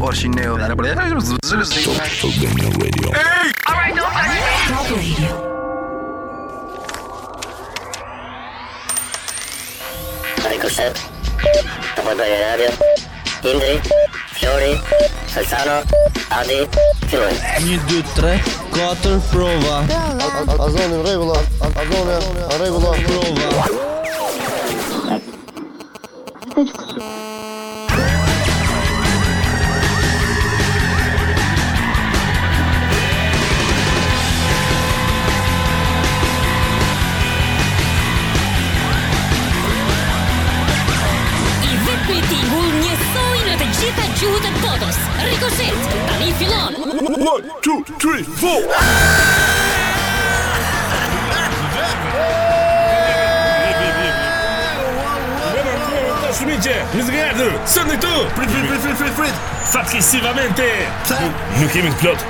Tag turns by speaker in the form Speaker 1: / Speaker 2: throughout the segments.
Speaker 1: or she knew.
Speaker 2: Albania Radio.
Speaker 3: Top Radio.
Speaker 4: Rico Seps, Apollon Radio, Indri, Flori, Salsano, Adi, Filoni.
Speaker 5: 1, 2, 3, 4 prova
Speaker 6: Azoni në rregull, Azoni në rregull.
Speaker 5: Prova
Speaker 7: I dhe ratingu njësoj në të gjitha gjuhët e botës. Ricochet, tani fillon.
Speaker 2: One, two, three, four.
Speaker 8: Shumiqe, më zgjardu, sënë këtu Prit, prit, prit, prit, prit, prit Fatkesivamente Nuk- Nuk kemi të plot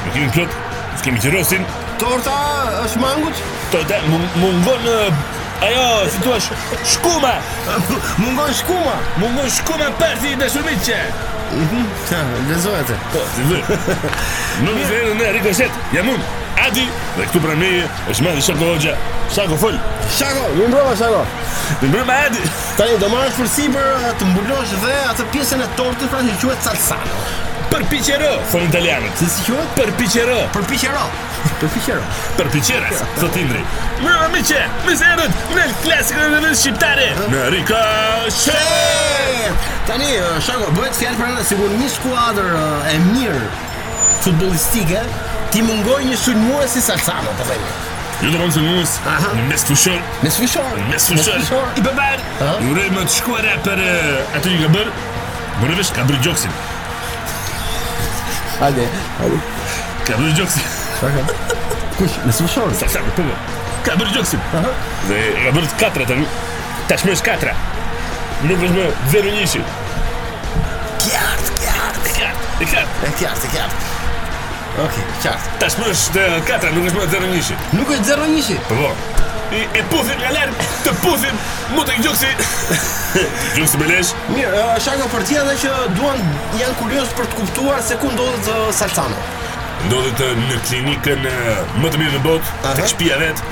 Speaker 8: Nuk kemi të plot S'kemi që rosin
Speaker 6: Torta është mangut?
Speaker 8: Të të mungon eh, Ajo, si thua, sh- shkuma
Speaker 6: Mungon shkuma.
Speaker 8: Mungon shkuma përti dhe shumiqe
Speaker 6: Ta, lezoj atë.
Speaker 8: Po, si dhe Nuk të zhejnë në rikoshet Jam unë, Adi Dhe këtu pra meje është Madi Shako Hoxha Shako Fol
Speaker 6: Shako, mi mbrova shako.
Speaker 8: Dhe mbrëma Adi
Speaker 6: Tani do marrësh përsi për uh, të mbulosh dhe atë pjesën e tortës pra që quhet salsano.
Speaker 8: Për piqero Thonë italianët
Speaker 6: Si si quhet?
Speaker 8: Për piqero
Speaker 6: Për piqero. Për piqero.
Speaker 8: për piqeres, thot Indri. Mbrëma miqe, me zërët, në klasikën e rëndës shqiptare. Në rikoshe!
Speaker 6: E, Tani eh, Shako bëhet fjalë për një sigur një skuadër eh, e mirë futbollistike ti mungoj një sulmues si Salsano, po themi.
Speaker 8: Ju të bëndë të mundës,
Speaker 6: Aha.
Speaker 8: në mes fushor,
Speaker 6: Me sfishor.
Speaker 8: në mes fushor, i bëbar.
Speaker 6: Aha.
Speaker 8: Ju rejë më të shkuara për eh, aty një ka bërë, më rëvesh ka bërë gjoksin.
Speaker 6: Hajde.
Speaker 8: Ka bërë gjoksin.
Speaker 6: Kush? Me sfishor.
Speaker 8: Sa sa, po po. Ka bërë gjoksin. Dhe e ka bërë të katra tani. Tashmë është katra. Nuk është më zero njëshi.
Speaker 6: Qartë, qartë,
Speaker 8: E kartë, e kartë.
Speaker 6: e qartë, e qartë. Okej, qartë.
Speaker 8: Tashmë është eh, katra, nuk është më zero njëshi.
Speaker 6: Nuk e zero njëshi.
Speaker 8: Po po. I e puthim nga larg, të puthim, mu të gjoksi. gjoksi me lesh.
Speaker 6: Mirë, uh, Shako për ti edhe që duan janë kurioz për të kuptuar se ku ndodhet uh, Salsano.
Speaker 8: Ndodhet eh, në klinikën eh, më të mirë në botë, tek shtëpia vet.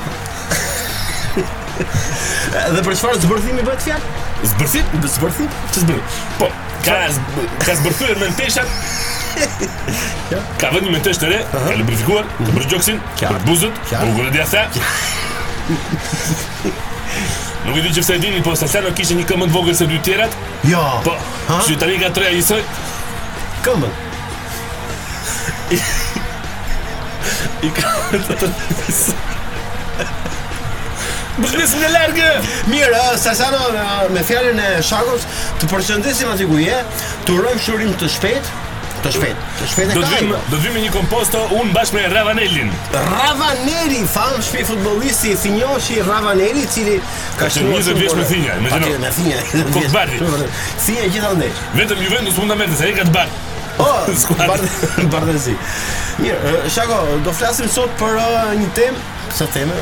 Speaker 6: Edhe për çfarë zbërthimi bëhet fjalë?
Speaker 8: Zbërthit?
Speaker 6: Zbërthim?
Speaker 8: Ç'të zbër? Po, ka zb- ka zbërthyer me teshat. Ka vënë me tesh të re, ka lubrifikuar, ka bërë gjoksin, ka bërë buzët,
Speaker 6: Qartë.
Speaker 8: bukur e dia sa. Nuk e di që fse e dini, po Sasano kishte një këmbë të vogël se dy tjerat,
Speaker 6: Jo.
Speaker 8: po,
Speaker 6: Ha?
Speaker 8: që tani ka treja njësoj,
Speaker 6: këmbën.
Speaker 8: I ka të të njësoj. Bëzmesin e largë!
Speaker 6: Mirë, uh, Salsano uh, me fjalën e Shakos të përshëndesim aty ku je, të urojmë shërim të shpejt, të shpejt, të shpejt e
Speaker 8: Do të
Speaker 6: kaj.
Speaker 8: vim, do të vim me një komposto unë bashkë me Ravanelin.
Speaker 6: Ravaneri, famë shpi futbolisti, Sinjoshi Ravaneri, cili ka
Speaker 8: qenë 20 vjeç me Thinja,
Speaker 6: me
Speaker 8: imagjino.
Speaker 6: me thinja.
Speaker 8: Kokbardi.
Speaker 6: Thinja gjithandej.
Speaker 8: Vetëm Juventus mund ta merrte se ai ka të bardh.
Speaker 6: Oh,
Speaker 8: Skuadra.
Speaker 6: bardh- bardhëzi. Mirë, eh, Shako, do flasim sot për eh, një temë, sa teme?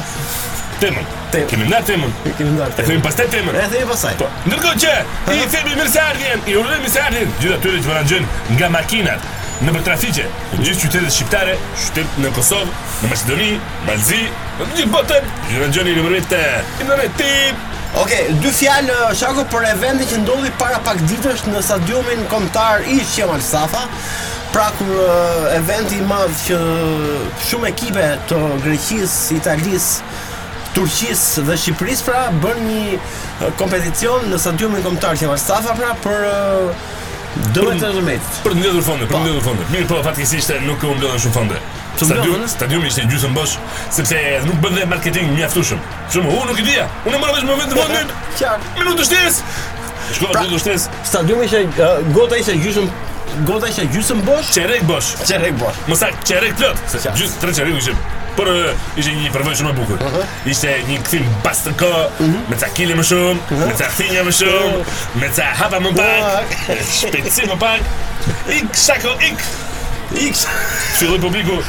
Speaker 8: Temën.
Speaker 6: Temën. Eh.
Speaker 8: Kemi ndar temën.
Speaker 6: E kemi ndarë
Speaker 8: E themi pastaj temën.
Speaker 6: E themi pasaj.
Speaker 8: Po, ndërkohë që i themi mirë se ardhjen, i urojmë mirë se ardhjen gjithë atyre që vranxhen nga makinat në për trafiqe, në gjithë qytetet shqiptare, qytet në Kosovë, në Maqedoni, Malzi, në të gjithë botën, që vranxheni në mënyrë të internet eh, tip.
Speaker 6: Okej, dy fjalë eh, Shako për eventin që ndodhi para pak ditësh në stadiumin kombëtar i Qemal Safa. Pra kur eh, eventi i madh që shumë ekipe të Greqisë, Italisë, Turqisë dhe Shqipërisë pra bën një eh, kompeticion në stadiumin kombëtar Qemal Safa pra për eh, dëmet e dëmetit.
Speaker 8: Për të ndjetur fonde, për
Speaker 6: Po.
Speaker 8: të ndjetur fonde. Mirë, po fatkesisht e, nuk u mbledhën shumë fonde.
Speaker 6: Pse
Speaker 8: Stadium,
Speaker 6: mbledhën?
Speaker 8: stadiumi ishte gjysmë bosh, sepse nuk bën dhe marketing mjaftueshëm. Shumë, unë nuk e dija. Unë e morë vetëm vend vendin.
Speaker 6: Qartë.
Speaker 8: Minutë shtes.
Speaker 6: Pra-
Speaker 8: Shkova pra... minutë shtes.
Speaker 6: Stadiumi ishte uh, gota ishte gjysëm gota ishte gjysëm bosh.
Speaker 8: Çerek bosh.
Speaker 6: Çerrek bosh.
Speaker 8: Më sa çerek plot. Se
Speaker 6: Qartë.
Speaker 8: gjysmë tre çerek ishte. Por e, ishte një përvojë shumë e bukur. Ishte një kthim bastërko,
Speaker 6: Mhm.
Speaker 8: me ca kile më shumë, me ca thinja më shumë, me ca hapa më pak,
Speaker 6: Pak.
Speaker 8: me shpejtësi më pak. Ik shako ik.
Speaker 6: X.
Speaker 8: Filloi publiku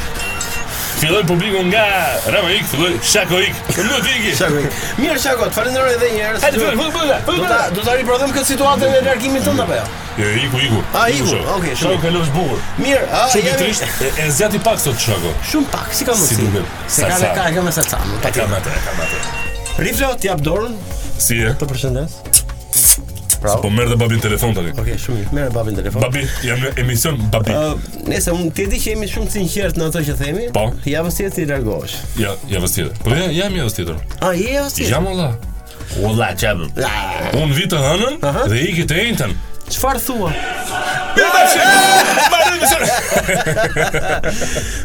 Speaker 8: Filloi publiku nga Ramaik, filloi Shakoik. Nuk do të iki.
Speaker 6: Shaku. Mirë Shako, të falenderoj edhe një herë.
Speaker 8: Hajde, filloj, filloj, filloj,
Speaker 6: Do
Speaker 8: filloj.
Speaker 6: ta do ta riprodhojmë këtë situatën e largimit tënd apo jo?
Speaker 8: Jo, iku, iku.
Speaker 6: A, iku, okay, shumë.
Speaker 8: Shako kalosh bukur.
Speaker 6: Mirë, a
Speaker 8: Shumë i
Speaker 6: Ah, jemi-
Speaker 8: trisht, e- e zjati pak sot Shako.
Speaker 6: Shumë pak, si ka
Speaker 8: Si
Speaker 6: mundsi.
Speaker 8: duket.
Speaker 6: Se ka
Speaker 8: Salsa.
Speaker 6: ka ka me salsa.
Speaker 8: E kam atë, e kam atë.
Speaker 6: Riflo, ti jap dorën,
Speaker 8: Si e?
Speaker 6: të përshëndes.
Speaker 8: Se po merr dhe babin telefon tani.
Speaker 6: Okej, shumë mirë. Merë babin telefon.
Speaker 8: Babi, jam në emision Babi.
Speaker 6: Ë, Nëse unë ti e di që jemi shumë sinqert në ato që themi,
Speaker 8: Po.
Speaker 6: ja vështirë ti largohesh.
Speaker 8: Ja, ja vës tjetër. Po ja, jam javës tjetër.
Speaker 6: A je vështirë?
Speaker 8: Jam olla. Olla jam. Unë vi të hënën
Speaker 6: Aha.
Speaker 8: dhe iki të njëjtën.
Speaker 6: Çfarë thua?
Speaker 8: Ja tash. Marrë emision.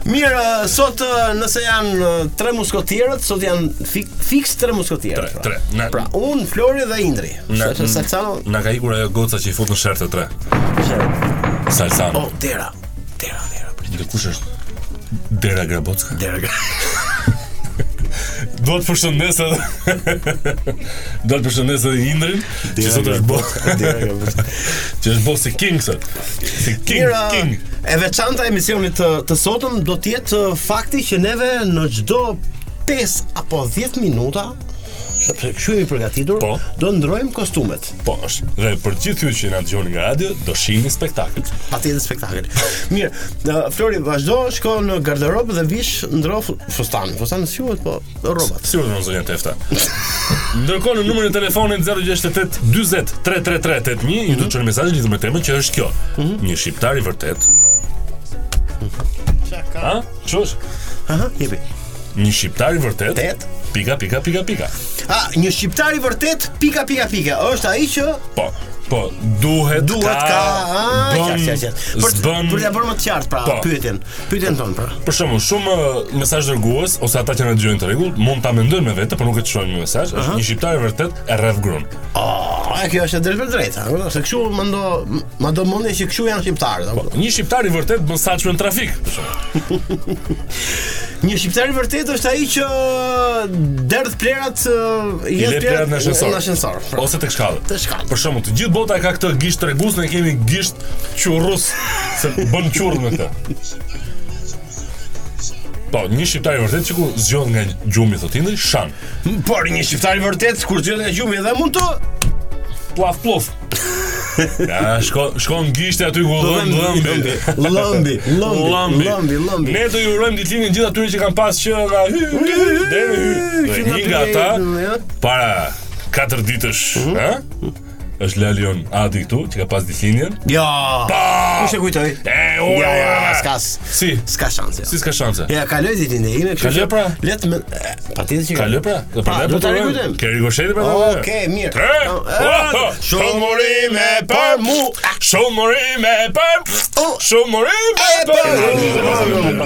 Speaker 6: Mirë, ë, sot ë, nëse janë ë, tre muskotierët, sot janë fik, fiks tre muskotierët.
Speaker 8: Tre,
Speaker 6: pra.
Speaker 8: Mm. tre. Na-
Speaker 6: Pra, unë, Flori dhe Indri.
Speaker 8: Na-
Speaker 6: Sepse Saksano,
Speaker 8: Na ka ikur ajo goca që i fut në sherr të tre. Salsano.
Speaker 6: oh, dera. Dera, dera. prit.
Speaker 8: Dhe kush është? Dera Grabocka.
Speaker 6: Dera.
Speaker 8: Do të përshëndes edhe Do të përshëndes edhe Indrin, që sot është bo.
Speaker 6: Dera.
Speaker 8: Që është bo si King sot. Si King,
Speaker 6: Mirë,
Speaker 8: King.
Speaker 6: e veçanta e emisionit të, të sotëm do të jetë ë, fakti që neve në çdo 5 apo 10 minuta sepse kështu jemi përgatitur,
Speaker 8: Po.
Speaker 6: do ndrojmë kostumet.
Speaker 8: Po, është. Dhe për gjithë ju që na dëgjoni nga radio, do shihni spektakël.
Speaker 6: Patjetër spektakël. Mirë, ë, Flori vazhdo, shko në garderobë dhe vish ndro fu- fustan. Fustan sjuhet, po rrobat.
Speaker 8: Sigurisht mos zonja tefta. Ndërkohë në numrin e telefonit 068 40 333 81 ju do të çoni mesazh lidhur me temën që është kjo.
Speaker 6: Mhm.
Speaker 8: Një shqiptar i vërtet. Çka? Ha? Çush?
Speaker 6: Aha, jepi.
Speaker 8: Një shqiptar i vërtet.
Speaker 6: Tet.
Speaker 8: Pika pika pika pika.
Speaker 6: A, një shqiptar i vërtet pika pika pika. Është ai që
Speaker 8: Po. Po, duhet
Speaker 6: duhet ka, a,
Speaker 8: bën,
Speaker 6: qartë, qartë, qartë. Për
Speaker 8: zbën,
Speaker 6: për ta bërë më të qartë pra
Speaker 8: Po.
Speaker 6: pyetjen. Pyetjen tonë pra.
Speaker 8: Për shembull, shumë ë, mesazh dërgues ose ata që na dëgjojnë të rregull mund ta mendojnë me vete, por nuk e çojnë me mesazh. Është një shqiptar i vërtet e rreth grun.
Speaker 6: Ah, kjo është e drejtë për drejtë, ha? se kështu më ndo, më do mundje që kështu janë shqiptarët.
Speaker 8: Po,
Speaker 6: apo?
Speaker 8: një shqiptar i vërtet bën saçme në trafik. për shembull.
Speaker 6: Një shqiptar i vërtet është ai që derdh plerat, ë,
Speaker 8: I
Speaker 6: jep
Speaker 8: le plerat në ascensor.
Speaker 6: Në ascensor. jo, pra.
Speaker 8: Ose tek shkallët.
Speaker 6: Tek shkallët.
Speaker 8: Për shembull, të gjithë bota ka këtë gisht tregus, ne kemi gisht qurrus, se bën qurrë me këtë. Po, një shqiptar i vërtet që ku zgjon nga gjumi thotë Indri, shan.
Speaker 6: Por një shqiptar i vërtet kur zgjohet nga gjumi dhe mund të
Speaker 8: Plaf pluf. Ja, shko, shkon gishti aty ku dhëm dhëmbi.
Speaker 6: Lëmbi, lëmbi, lëmbi, lëmbi.
Speaker 8: Ne do ju urojmë ditëlindjen gjithë atyre që kanë pas që nga hy hy, hy, deri hy. Dhe Një nga ata para 4 ditësh,
Speaker 6: Mhm.
Speaker 8: ha? Është Lalion Adi këtu që ka pas ditëlindjen.
Speaker 6: Ja.
Speaker 8: Pa!
Speaker 6: Kush e kujtoi?
Speaker 8: E ora.
Speaker 6: Ja, ja, ja, s'kas.
Speaker 8: Si?
Speaker 6: S'ka shanse.
Speaker 8: Si s'ka shanse?
Speaker 6: Ja, kaloj ditën e ime, kështu.
Speaker 8: Kaloj
Speaker 6: që
Speaker 8: pra.
Speaker 6: Le të më e, patjetër që
Speaker 8: Kalë pra, dhe
Speaker 6: Pa,
Speaker 8: prandaj
Speaker 6: do
Speaker 8: po
Speaker 6: ta
Speaker 8: të urojmë.
Speaker 6: rikujtojmë.
Speaker 8: Ke rikosheti pra.
Speaker 6: Okej, mirë. Kam- e,
Speaker 8: Shumë murime për mu, shumë murime për mu, shumë murime për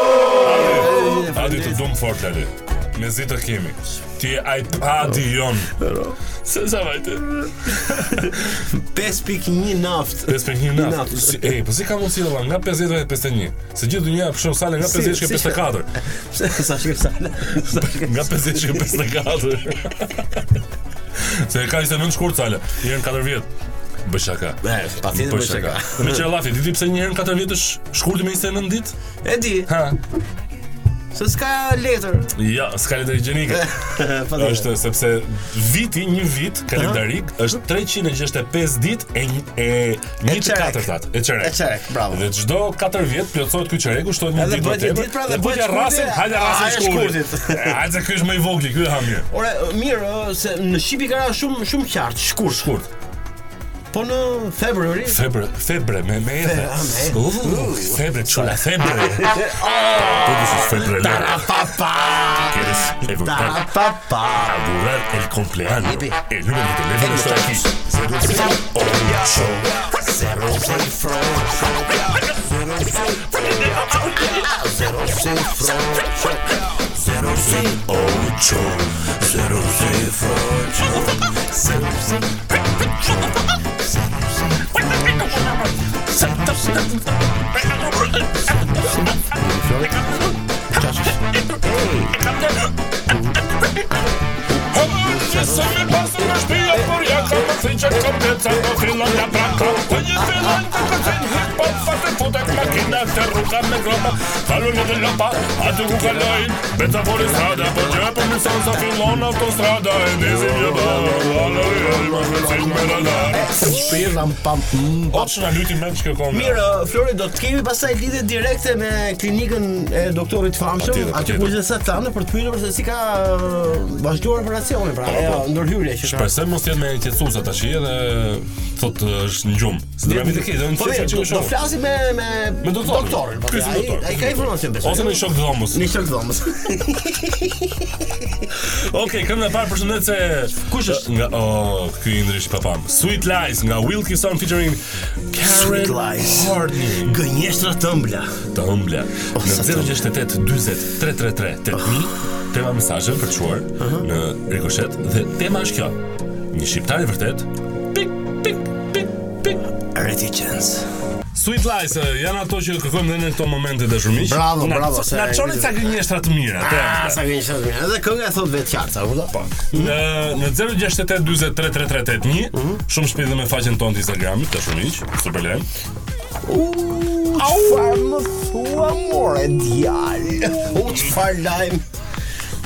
Speaker 8: mu. Adi të dumë fort, Lali. Me zi të kemi. Ti e iPad-i jonë. Se sa vajte?
Speaker 6: 5.1 naft.
Speaker 8: 51
Speaker 6: Naft.
Speaker 8: naft. Si, e, po si ka mundësi valla nga 50 dhe 51? Se gjithë dhunja fshon sale nga 50 shkë 54.
Speaker 6: Sa shkë sa. Sa shkë.
Speaker 8: Nga 50 shkë 54. Se e ka ishte mëndë shkurt sale, njërën 4 vjetë. Bëj shaka.
Speaker 6: Ne, patjetër bëj shaka.
Speaker 8: Me çfarë lafi, ti di pse njëherë në 4 vjet është shkurti me 29 ditë?
Speaker 6: E di,
Speaker 8: Ha.
Speaker 6: se s'ka letër.
Speaker 8: Ja, s'ka letër higjienike.
Speaker 6: Patjetër.
Speaker 8: Është sepse viti, një vit kalendarik është 365 ditë e një- e një të
Speaker 6: çerek.
Speaker 8: katërtat, e çerek.
Speaker 6: E çerek, bravo.
Speaker 8: Dhe çdo 4 vjet plotësohet ky çereku, shtohet një
Speaker 6: Edhe
Speaker 8: ditë më
Speaker 6: bëhet një
Speaker 8: tepër.
Speaker 6: ditë pra dhe
Speaker 8: dhe
Speaker 6: bëhet
Speaker 8: bëhet
Speaker 6: shkurti,
Speaker 8: rasin, hajde
Speaker 6: a,
Speaker 8: rasin
Speaker 6: është
Speaker 8: shkurtit.
Speaker 6: shkurtit.
Speaker 8: E, Hajde ky është më i vogli, ky e ha mirë.
Speaker 6: Ore, mirë, ë, se në Shqip i ka ra shumë shumë qartë, shkurt.
Speaker 8: Shkurt.
Speaker 6: Po në Februari
Speaker 8: Febre, febre, me me edhe.
Speaker 6: a, me Oh! edhe.
Speaker 8: Uh, febre, çuna febre. Po dish febre.
Speaker 6: Tarapapa
Speaker 8: Quieres evocar
Speaker 6: Tarapapa
Speaker 8: augurar el cumpleaños. El número de teléfono está aquí. 068
Speaker 1: Oggi se mi passa una spia porriata Ma finge completando fila da bracca Ogni filante così in hip hop Fate fotek macchina terruca me groba Calone dell'appa a tu cuca lei Betta fuori strada Po c'è per mi senza filone autostrada E nisi mia bava Alla riel ma se si me la la
Speaker 6: Shpirlam pam mm.
Speaker 8: O çuna luti më shkëkon.
Speaker 6: Mirë, uh, Flori do të kemi pastaj lidhje direkte me klinikën e doktorit famshëm,
Speaker 8: Patjetër,
Speaker 6: aty
Speaker 8: patjetër.
Speaker 6: ku gjithë sa thanë për të pyetur se si ka uh, vazhduar operacioni, pra ajo ndërhyrje që ka.
Speaker 8: Shpresoj mos jetë me qetësues atash edhe thotë është në gjumë. Se drami të ketë,
Speaker 6: Po mirë,
Speaker 8: unë thjesht
Speaker 6: do,
Speaker 8: çka
Speaker 6: do
Speaker 8: shoh.
Speaker 6: flasim me me
Speaker 8: Me doktorin.
Speaker 6: doktorin. po,
Speaker 8: Pyesim
Speaker 6: ai-
Speaker 8: doktorin.
Speaker 6: Ai ka informacion besoj.
Speaker 8: Ose në shok të dhomës.
Speaker 6: Në shok dhomës. Po,
Speaker 8: Okej, kënga e parë përshëndet se
Speaker 6: Kush është?
Speaker 8: Nga oh, ky Indrish Papam. Sweet Lies nga Wilkinson featuring Karen
Speaker 6: Sweet Lies.
Speaker 8: Horning.
Speaker 6: Gënjeshtra tëmbla.
Speaker 8: Të ëmbla. Në
Speaker 6: Oh, sa
Speaker 8: 068 40 333 8000 tema mesazhe për të çuar në Ricochet dhe tema është kjo. Një shqiptar i vërtet. Pik pik pik pik.
Speaker 6: Reticence.
Speaker 8: Sweet Lies eh, janë ato që kërkojmë dhe në këto momente dashur miq.
Speaker 6: Bravo,
Speaker 8: Na-
Speaker 6: bravo, se-
Speaker 8: Na çoni ca gënjeshtra të mira. te.
Speaker 6: Ah, sa gënjeshtra tëmbla. Edhe kënga e thot vetë qartë, sa kupton? Po.
Speaker 8: Në në 0692033381,
Speaker 6: Mhm.
Speaker 8: shumë shpejt dhe me faqen tonë të Instagramit, dashur miq, super lem.
Speaker 6: Çfarë më thua more djali? U çfarë lajm?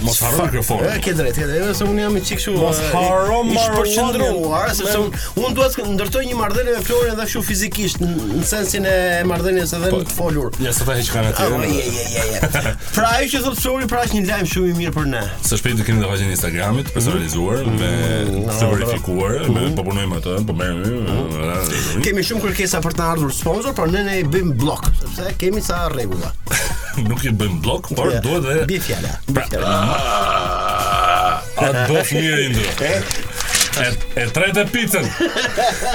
Speaker 8: Mos harro mikrofonin.
Speaker 6: E ke drejt, ke drejt, se unë jam i çik kështu.
Speaker 8: Mos
Speaker 6: e,
Speaker 8: harro
Speaker 6: i- i
Speaker 8: marrë
Speaker 6: shpërqendruar,
Speaker 8: marrë.
Speaker 6: sepse unë unë dua të ndërtoj një marrëdhënie me Florin edhe kështu fizikisht në në sensin e marrëdhënies edhe
Speaker 8: Po,
Speaker 6: më të folur.
Speaker 8: Ja sa ta heq kanë
Speaker 6: Ah,
Speaker 8: aty.
Speaker 6: je, je, je, je. Pra ajo që thot Flori pra është një lajm shumë i mirë për ne.
Speaker 8: Së shpejt do keni dhe faqen e Instagramit, personalizuar dhe të verifikuar, me po punojmë atë, po merrem. eh,
Speaker 6: Kemi shumë kërkesa për të ardhur sponsor, por ne ne i bëjmë blok, sepse kemi sa rregulla.
Speaker 8: Nuk i bëjmë blok, por
Speaker 6: Ja,
Speaker 8: duhet dhe
Speaker 6: Bi fjala. Bi
Speaker 8: Pra- Ah!
Speaker 6: fjala.
Speaker 8: A të bëf mirë indër. E, e tretë e picën.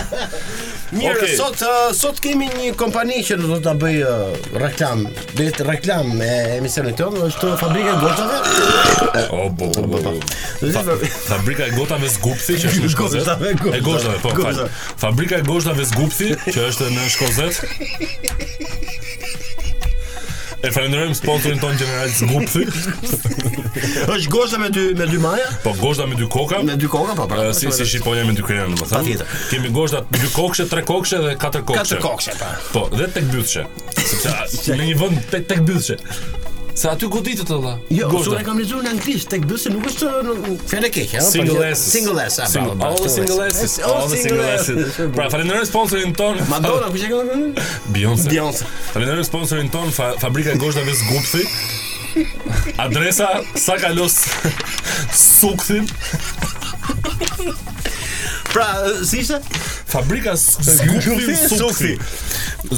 Speaker 6: Mirë,
Speaker 8: Okej.
Speaker 6: sot uh, sot kemi një kompani që do ta bëj uh, reklam, bëhet reklam me emisionin tonë, është fabrika e gotave.
Speaker 8: O, bo, bo, bo, bo.
Speaker 6: Dhe
Speaker 8: Fa-
Speaker 6: fa-
Speaker 8: Fabrika e gotave Zgupthi që është në Shkozet.
Speaker 6: Gotave, gotave,
Speaker 8: E gotave, po. fal.
Speaker 6: gotave.
Speaker 8: Fabrika e gotave Zgupthi që është në Shkozet. E falenderojmë sponsorin ton General Zgupthi.
Speaker 6: Është gozhda me dy me dy maja,
Speaker 8: Po goshta me dy koka.
Speaker 6: me dy koka po pra.
Speaker 8: E, Si si shqiponja me dy krenë, më thënë.
Speaker 6: Patjetër.
Speaker 8: Kemi goshta dy kokshe, tre kokshe dhe katër kokshe.
Speaker 6: katër kokshe pa.
Speaker 8: Po, dhe tek bythshe. Sepse a- në një vend tek tek bythshe. Se aty goditet olla.
Speaker 6: Jo,
Speaker 8: Goshta.
Speaker 6: unë e kam lexuar në anglisht, tek bëse nuk është nuk- fjalë e keqe, ha. po
Speaker 8: Single
Speaker 6: që-
Speaker 8: S.
Speaker 6: Single S, ha.
Speaker 8: Single,
Speaker 6: bravo,
Speaker 8: all the single S. All the single S. Pra um falenderoj sponsorin ton.
Speaker 6: Madonna, ku që kanë?
Speaker 8: Beyoncé. um
Speaker 6: Beyoncé.
Speaker 8: Falenderoj sponsorin ton, fa, Fabrika e Goshtave Zgupthi. Adresa Sakalos Sukthin,
Speaker 6: Pra, e, si ishte?
Speaker 8: Fabrika Zgupthi Sukthi.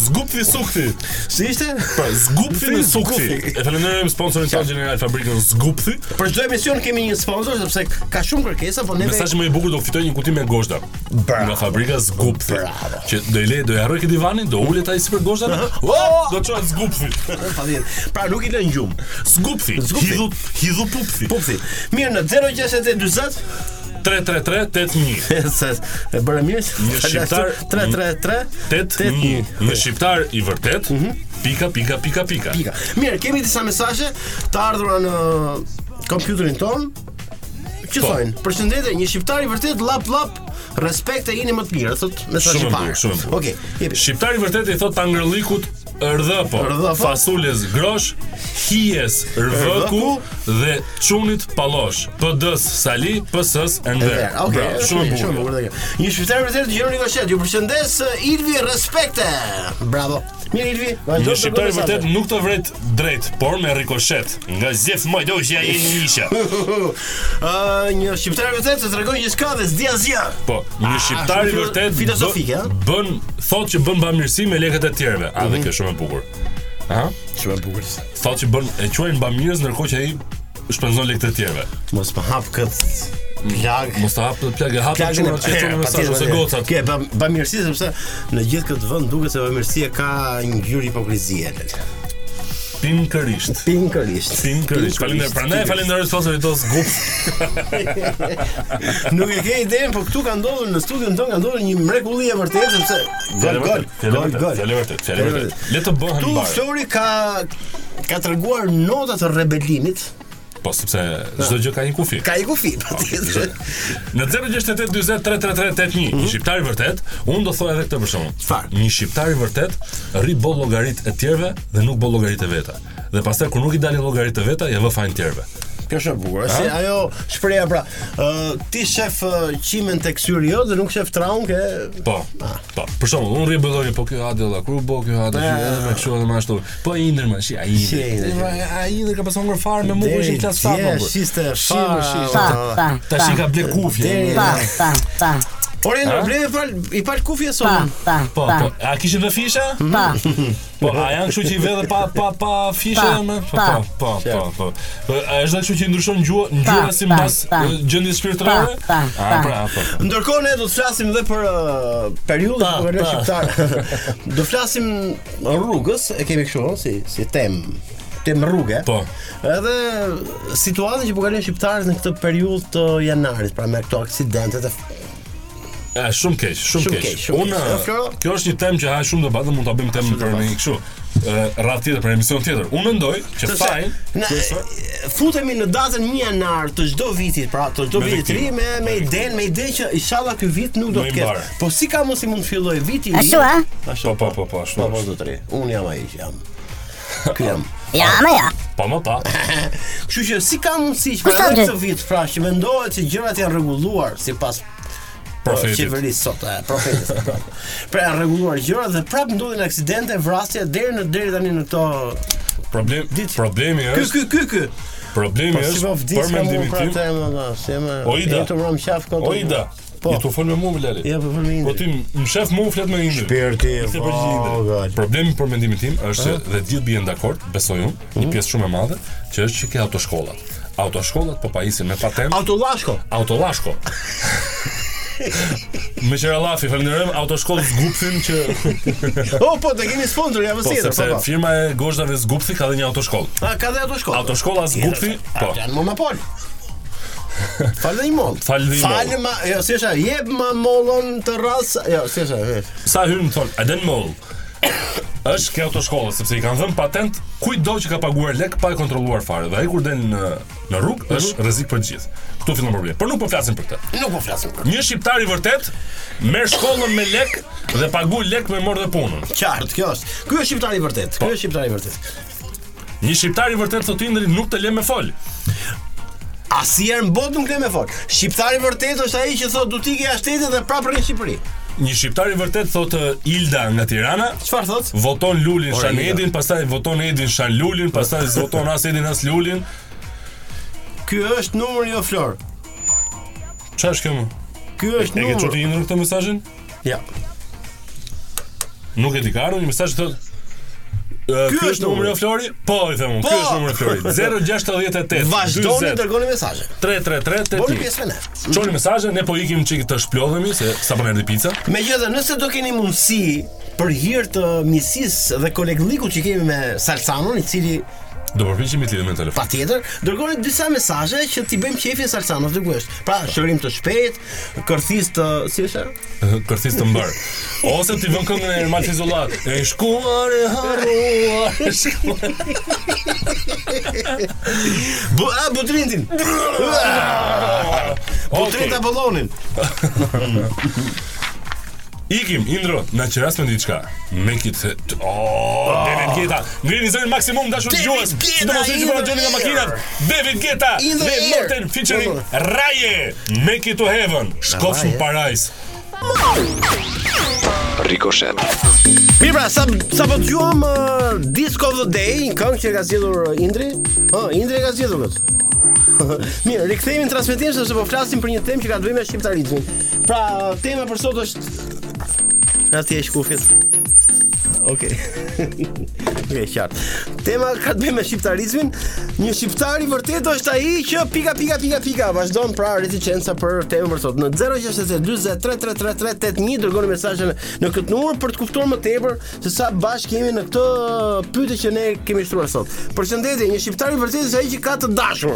Speaker 8: Zgupthi Sukthi.
Speaker 6: Si ishte?
Speaker 8: Pra, Zgupthi në Sukthi.
Speaker 6: Zgupthi.
Speaker 8: E falenderoj sponsorin ton General um Fabrikën Zgupthi.
Speaker 6: Për çdo emision kemi një sponsor sepse ka shumë kërkesa, po neve
Speaker 8: Mesazhi më i bukur do fitoj një kuti me goshta.
Speaker 6: Bravo.
Speaker 8: Nga fabrika Zgupthi.
Speaker 6: Bravo.
Speaker 8: Që do i le do i harroj këtë divanin, do ulet ai sipër goshtave. Do çohet Zgupthi.
Speaker 6: Patjetër. Pra nuk i lën gjumë.
Speaker 8: Zgupthi.
Speaker 6: Zgupthi.
Speaker 8: Hidhu, hidhu pupthi.
Speaker 6: Pupsi. Mirë në 06840
Speaker 8: 33381.
Speaker 6: se e bëra mirë.
Speaker 8: Një shqiptar-
Speaker 6: 333
Speaker 8: 81. Një shqiptar i vërtet. Pika pika pika Mhm. pika.
Speaker 6: Pika. Mirë, kemi disa mesazhe të ardhura në kompjuterin ton. Që
Speaker 8: Po.
Speaker 6: thonë? Përshëndetje, një shqiptar i vërtet lap lap respekt e jeni më të mirë, thot mesazhi
Speaker 8: Shumë e
Speaker 6: i parë.
Speaker 8: bukur, shumë e bukur.
Speaker 6: Okej, jepi.
Speaker 8: Shqiptari i vërtet i thot tangrëllikut rdhëpo,
Speaker 6: Rdhëpo.
Speaker 8: fasules grosh, hijes rvëku dhe çunit pallosh. PD-s Sali, PS-s Ender.
Speaker 6: Ver, Okej,
Speaker 8: Bravo, shumë e
Speaker 6: shumë e
Speaker 8: bukur.
Speaker 6: bukur. dhe kjo. Një shqiptar i vërtet dëgjon Rikoshet, ju përshëndes Ilvi, respekte. Bravo. Mirë Ilvi,
Speaker 8: Një
Speaker 6: vazhdo.
Speaker 8: shqiptar i vërtet nuk të vret drejt, por me rikoshet. Nga zef moj doqja e një isha.
Speaker 6: Ë, një shqiptar i vërtet se tregoj gjithçka dhe s'di asgjë.
Speaker 8: Po, një shqiptar i
Speaker 6: shumë
Speaker 8: vërtet bë-
Speaker 6: Ah, filozofike, a?
Speaker 8: Bën thotë që bën bamirësi me lekët e tjerëve. A
Speaker 6: Mhm.
Speaker 8: dhe kjo është shumë e bukur. Aha.
Speaker 6: Shumë e bukur.
Speaker 8: Thotë që bën e quajnë bamirës ndërkohë që ai shpenzon lekët e tjerëve.
Speaker 6: Mos më hap kët plag.
Speaker 8: Mos ta hapë plagë hapë
Speaker 6: Plagën
Speaker 8: çuna që thonë mesazh ose gocat.
Speaker 6: Ke ba- bamirësi sepse në gjithë këtë vend duket se bamirësia ka një ngjyrë hipokrizie.
Speaker 8: Pinkërisht.
Speaker 6: Pinkërisht.
Speaker 8: Pinkërisht. pra Faleminderit. Prandaj falenderoj sponsorit tos Gup.
Speaker 6: Nuk e ke idenë, por këtu ka ndodhur në studion tonë ka ndodhur një mrekulli e vërtetë sepse gol
Speaker 8: Fjalë
Speaker 6: gol
Speaker 8: vërtet, fjalë
Speaker 6: gol
Speaker 8: vërtet,
Speaker 6: gol.
Speaker 8: fjalë vërtet, fjalë
Speaker 6: Fjalë
Speaker 8: vërtet.
Speaker 6: vërtet.
Speaker 8: Le të bëhen
Speaker 6: Tu
Speaker 8: mbar.
Speaker 6: Flori ka ka treguar nota të rebelimit.
Speaker 8: Po sepse çdo gjë ka një kufi.
Speaker 6: Ka i kufi
Speaker 8: Po,
Speaker 6: patjetër.
Speaker 8: Në 0692033381, një shqiptar i vërtet, unë do thoj edhe këtë për shkakun.
Speaker 6: Mhm. Çfarë?
Speaker 8: Një shqiptar i vërtet rri boll llogarit e tjerëve dhe nuk boll llogarit e veta. Dhe pastaj kur nuk i dalin llogarit e veta, ja vë fajin tjerëve.
Speaker 6: Kjo është e bukur. Se ajo shpreha pra, ë, ti shef ë, qimen tek syri jot dhe nuk shef traun ke
Speaker 8: Po.
Speaker 6: Ah.
Speaker 8: Po. Për shembull, unë rri boll llogarit, po kjo adella, kur u bë kjo adella,
Speaker 6: Ja.
Speaker 8: edhe me kështu edhe me ashtu. Po i ndër më, shi ai.
Speaker 6: Ah. Si
Speaker 8: indër.
Speaker 6: ai indër,
Speaker 8: Ai indër ka pasur ngur fare me mua kur ishin në klasë po.
Speaker 6: Je,
Speaker 8: fare.
Speaker 6: shiste
Speaker 8: Shi,
Speaker 6: fara.
Speaker 8: shi,
Speaker 6: o,
Speaker 8: pa,
Speaker 6: o,
Speaker 9: Pa,
Speaker 8: Tash i ka ble kufje.
Speaker 6: Deri-
Speaker 9: pa, pa, pa,
Speaker 6: Por e ndër bleve fal i pal kufi e
Speaker 9: pa,
Speaker 6: sonën.
Speaker 9: pa,
Speaker 8: Po,
Speaker 9: pa,
Speaker 8: po. A kishin dhe
Speaker 6: Hmm?
Speaker 8: fisha?
Speaker 9: pa.
Speaker 8: Po, a janë kështu që i vedhe pa pa pa fishë
Speaker 9: Pa,
Speaker 8: më? Po,
Speaker 9: pa.
Speaker 8: po, po, po. Po, a është dhe kështu që i ndryshon gjuhë, ngjyra
Speaker 9: Pa,
Speaker 8: si
Speaker 9: pa,
Speaker 8: mbas
Speaker 9: pa.
Speaker 8: e, gjendjes shpirtërore?
Speaker 9: Pa, pa,
Speaker 8: A,
Speaker 9: pa.
Speaker 8: pra, po.
Speaker 6: Ndërkohë ne do të flasim edhe për uh, periudhën
Speaker 8: Pa,
Speaker 6: e
Speaker 8: pa.
Speaker 6: shqiptar. do flasim rrugës, e kemi kështu ëh, si si temë temë rruge.
Speaker 8: Po.
Speaker 6: Edhe situatën që po kalojnë shqiptarët në këtë periudhë të janarit, pra me këto aksidentet e
Speaker 8: E, shumë keq, shumë
Speaker 6: Shumë
Speaker 8: keq.
Speaker 6: keq, shumë
Speaker 8: Unë
Speaker 6: keq. E, Floro?
Speaker 8: kjo është një temë që ha shumë debat dhe mund ta bëjmë temë për një kështu. ë, radhë tjetër për emision tjetër. Unë mendoj që
Speaker 6: Sepse
Speaker 8: fajin
Speaker 6: na- futemi në datën 1 janar të çdo viti, pra të çdo
Speaker 8: Me
Speaker 6: viti të ri
Speaker 8: viktimë.
Speaker 6: me me idenë, me ide që inshallah ky vit nuk do
Speaker 8: Me
Speaker 6: të
Speaker 8: mbar.
Speaker 6: ketë. Po si ka mos i mund të filloj viti i
Speaker 10: 哎
Speaker 6: ri?
Speaker 9: Ashtu, a?
Speaker 6: Ashtu.
Speaker 8: Po, po, po, po, ashtu.
Speaker 6: Po, po, do të ri. Un jam ai që jam. Ky jam.
Speaker 9: Ja, me ja.
Speaker 8: po më pa.
Speaker 6: Kështu që si ka mundësi që
Speaker 9: Kush
Speaker 6: pra
Speaker 9: ta
Speaker 6: edhe
Speaker 9: vjen?
Speaker 6: këtë vit, pra që mendohet se gjërat janë rregulluar sipas
Speaker 8: Profetit.
Speaker 6: Qeverisë sot, e, profetit. sot, po. pra janë rregulluar gjërat dhe prapë ndodhin aksidente, vrasje deri në deri tani në këto
Speaker 8: Problem, problemi
Speaker 6: Ky
Speaker 8: është,
Speaker 6: ky ky ky.
Speaker 8: problemi
Speaker 6: Po si po
Speaker 8: është
Speaker 6: vdis
Speaker 8: për
Speaker 6: ka mu
Speaker 8: mendimin
Speaker 6: pra
Speaker 8: tim.
Speaker 6: të më nga, se më...
Speaker 8: Oida.
Speaker 6: E të më qafë këtë...
Speaker 8: Oida,
Speaker 6: Po.
Speaker 8: i tu fol me mua Bilali.
Speaker 6: Ja, po fol me Indrin.
Speaker 8: Po ti më shef mua flet me Indrin.
Speaker 6: Pirti,
Speaker 8: Ishte përgjigje. Problemi për mendimin tim është që dhe të gjithë bien dakord, besoj unë, një
Speaker 6: Mhm.
Speaker 8: pjesë shumë e madhe, që është që ke autoshkollat. Autoshkollat po pajisin me patent
Speaker 6: Autollashko.
Speaker 8: autollashko. me qëra lafi, falenderojmë autoshkollë Zgupthin që
Speaker 6: O, po, të kemi sponsor, ja
Speaker 8: po
Speaker 6: vësjetër,
Speaker 8: sepse
Speaker 6: po, po.
Speaker 8: firma e Gozhdave Zgupthi ka dhe një autoshkollë.
Speaker 6: A, ka dhe ato shkollë.
Speaker 8: Autoshkolla Zgupthi, po.
Speaker 6: Janë monopol. Falë dhe një mollë.
Speaker 8: Falë dhe një mollë.
Speaker 6: Falë ma, jo, si është, jep ma mollën të rrasë, jo, si është, e,
Speaker 8: Sa hyrën thon, a den moll. Është kjo autoshkolla sepse i kanë dhënë patent kujdo që ka paguar lek pa e kontrolluar fare. Dhe ai kur del në në rrugë
Speaker 6: Mhm.
Speaker 8: është rrezik për të gjithë. Ktu fillon problemi. Por nuk po flasim për këtë.
Speaker 6: nuk po flasim për.
Speaker 8: Një shqiptar i vërtet merr shkollën me lek dhe pagu lek me morë dhe punën.
Speaker 6: Qartë, kjo është. Ky është shqiptari i vërtet.
Speaker 8: Po.
Speaker 6: Ky është shqiptari i vërtet.
Speaker 8: Një shqiptar i vërtet thotë Indri nuk të le me fol.
Speaker 6: Asnjëherë er në botë nuk le me fol. Shqiptari i vërtet është ai që thotë du ti ke ashtetet dhe prapë rrin në Shqipëri.
Speaker 8: Një shqiptar i vërtet thotë ë, Ilda nga Tirana.
Speaker 6: Çfarë thotë?
Speaker 8: Voton Lulin
Speaker 6: Ora,
Speaker 8: Shan
Speaker 6: Ilda.
Speaker 8: Edin, pastaj voton Edin Shan Lulin, pastaj voton as Edin as Lulin.
Speaker 6: Ky është numri jo Flor.
Speaker 8: Çfarë është kjo më?
Speaker 6: Ky është
Speaker 8: E ke
Speaker 6: numri.
Speaker 8: çuar ti Indri këtë mesazhin?
Speaker 6: Ja.
Speaker 8: Nuk e di ka ardhur një mesazh thotë Ky është numri i Flori? Po, i them unë. Ky
Speaker 6: Po!
Speaker 8: është numri i Flori. 068
Speaker 6: Vazhdoni të
Speaker 8: 40
Speaker 6: dërgoni mesazhe.
Speaker 8: 333
Speaker 6: Bëni pjesë me ne.
Speaker 8: Çoni mesazhe, ne po ikim çik të shplodhemi se sapo na erdhi pica.
Speaker 6: Megjithatë, nëse do keni mundësi për hir të miqësisë dhe kolegllikut që kemi me Salsanon, i cili
Speaker 8: Do përpiqemi të lidhemi me telefon.
Speaker 6: patjetër dërgoni disa mesazhe që t'i bëjmë qefin Salsanos të gusht. Pra, shërim të shpejt, kërthis të, si është? ajo?
Speaker 8: Kërthis të mbar. Ose ti vën këngën e Ermal Fizullat. E shkuar e harruar. e shkuar.
Speaker 6: Bu, a butrintin. Butrin ta
Speaker 8: Okej.
Speaker 6: bollonin.
Speaker 8: Ikim, Indro, na qeras me diçka. Make it. Oh, David Geta. Ngrini zërin maksimum dashur
Speaker 6: Ah. David
Speaker 8: dëgjues.
Speaker 6: Guetta,
Speaker 8: Sidomos ju që
Speaker 6: in
Speaker 8: po
Speaker 6: the
Speaker 8: dëgjoni nga
Speaker 6: air.
Speaker 8: makinat. David Geta
Speaker 6: In the
Speaker 8: dhe
Speaker 6: air.
Speaker 8: Morten featuring Raje. Make it to heaven. Shkofsh në parajs.
Speaker 10: Ricochet.
Speaker 6: Mirë pra, sa, sa po dëgjuam uh, Disco of the Day, një këngë që ka zgjedhur uh, Indri. Ha, Indri e ka zgjedhur këtë. Mirë, rikthehemi në transmetim sepse po flasim për një temë që ka të bëjë me shqiptarizmin. Pra, tema për sot është Ati e shkufit. Okej. Okej, qartë. Tema ka të bëjë me shqiptarizmin. Një shqiptar i vërtet është ai që pika pika pika pika vazhdon pra reticenca për temën për sot. Në 0692033338 dërgoni mesazhin në këtë numër për të kuptuar më tepër se sa bashkë jemi në këtë pyetje që ne kemi shtruar sot. Përshëndetje, një shqiptar i vërtet është ai që ka të dashur.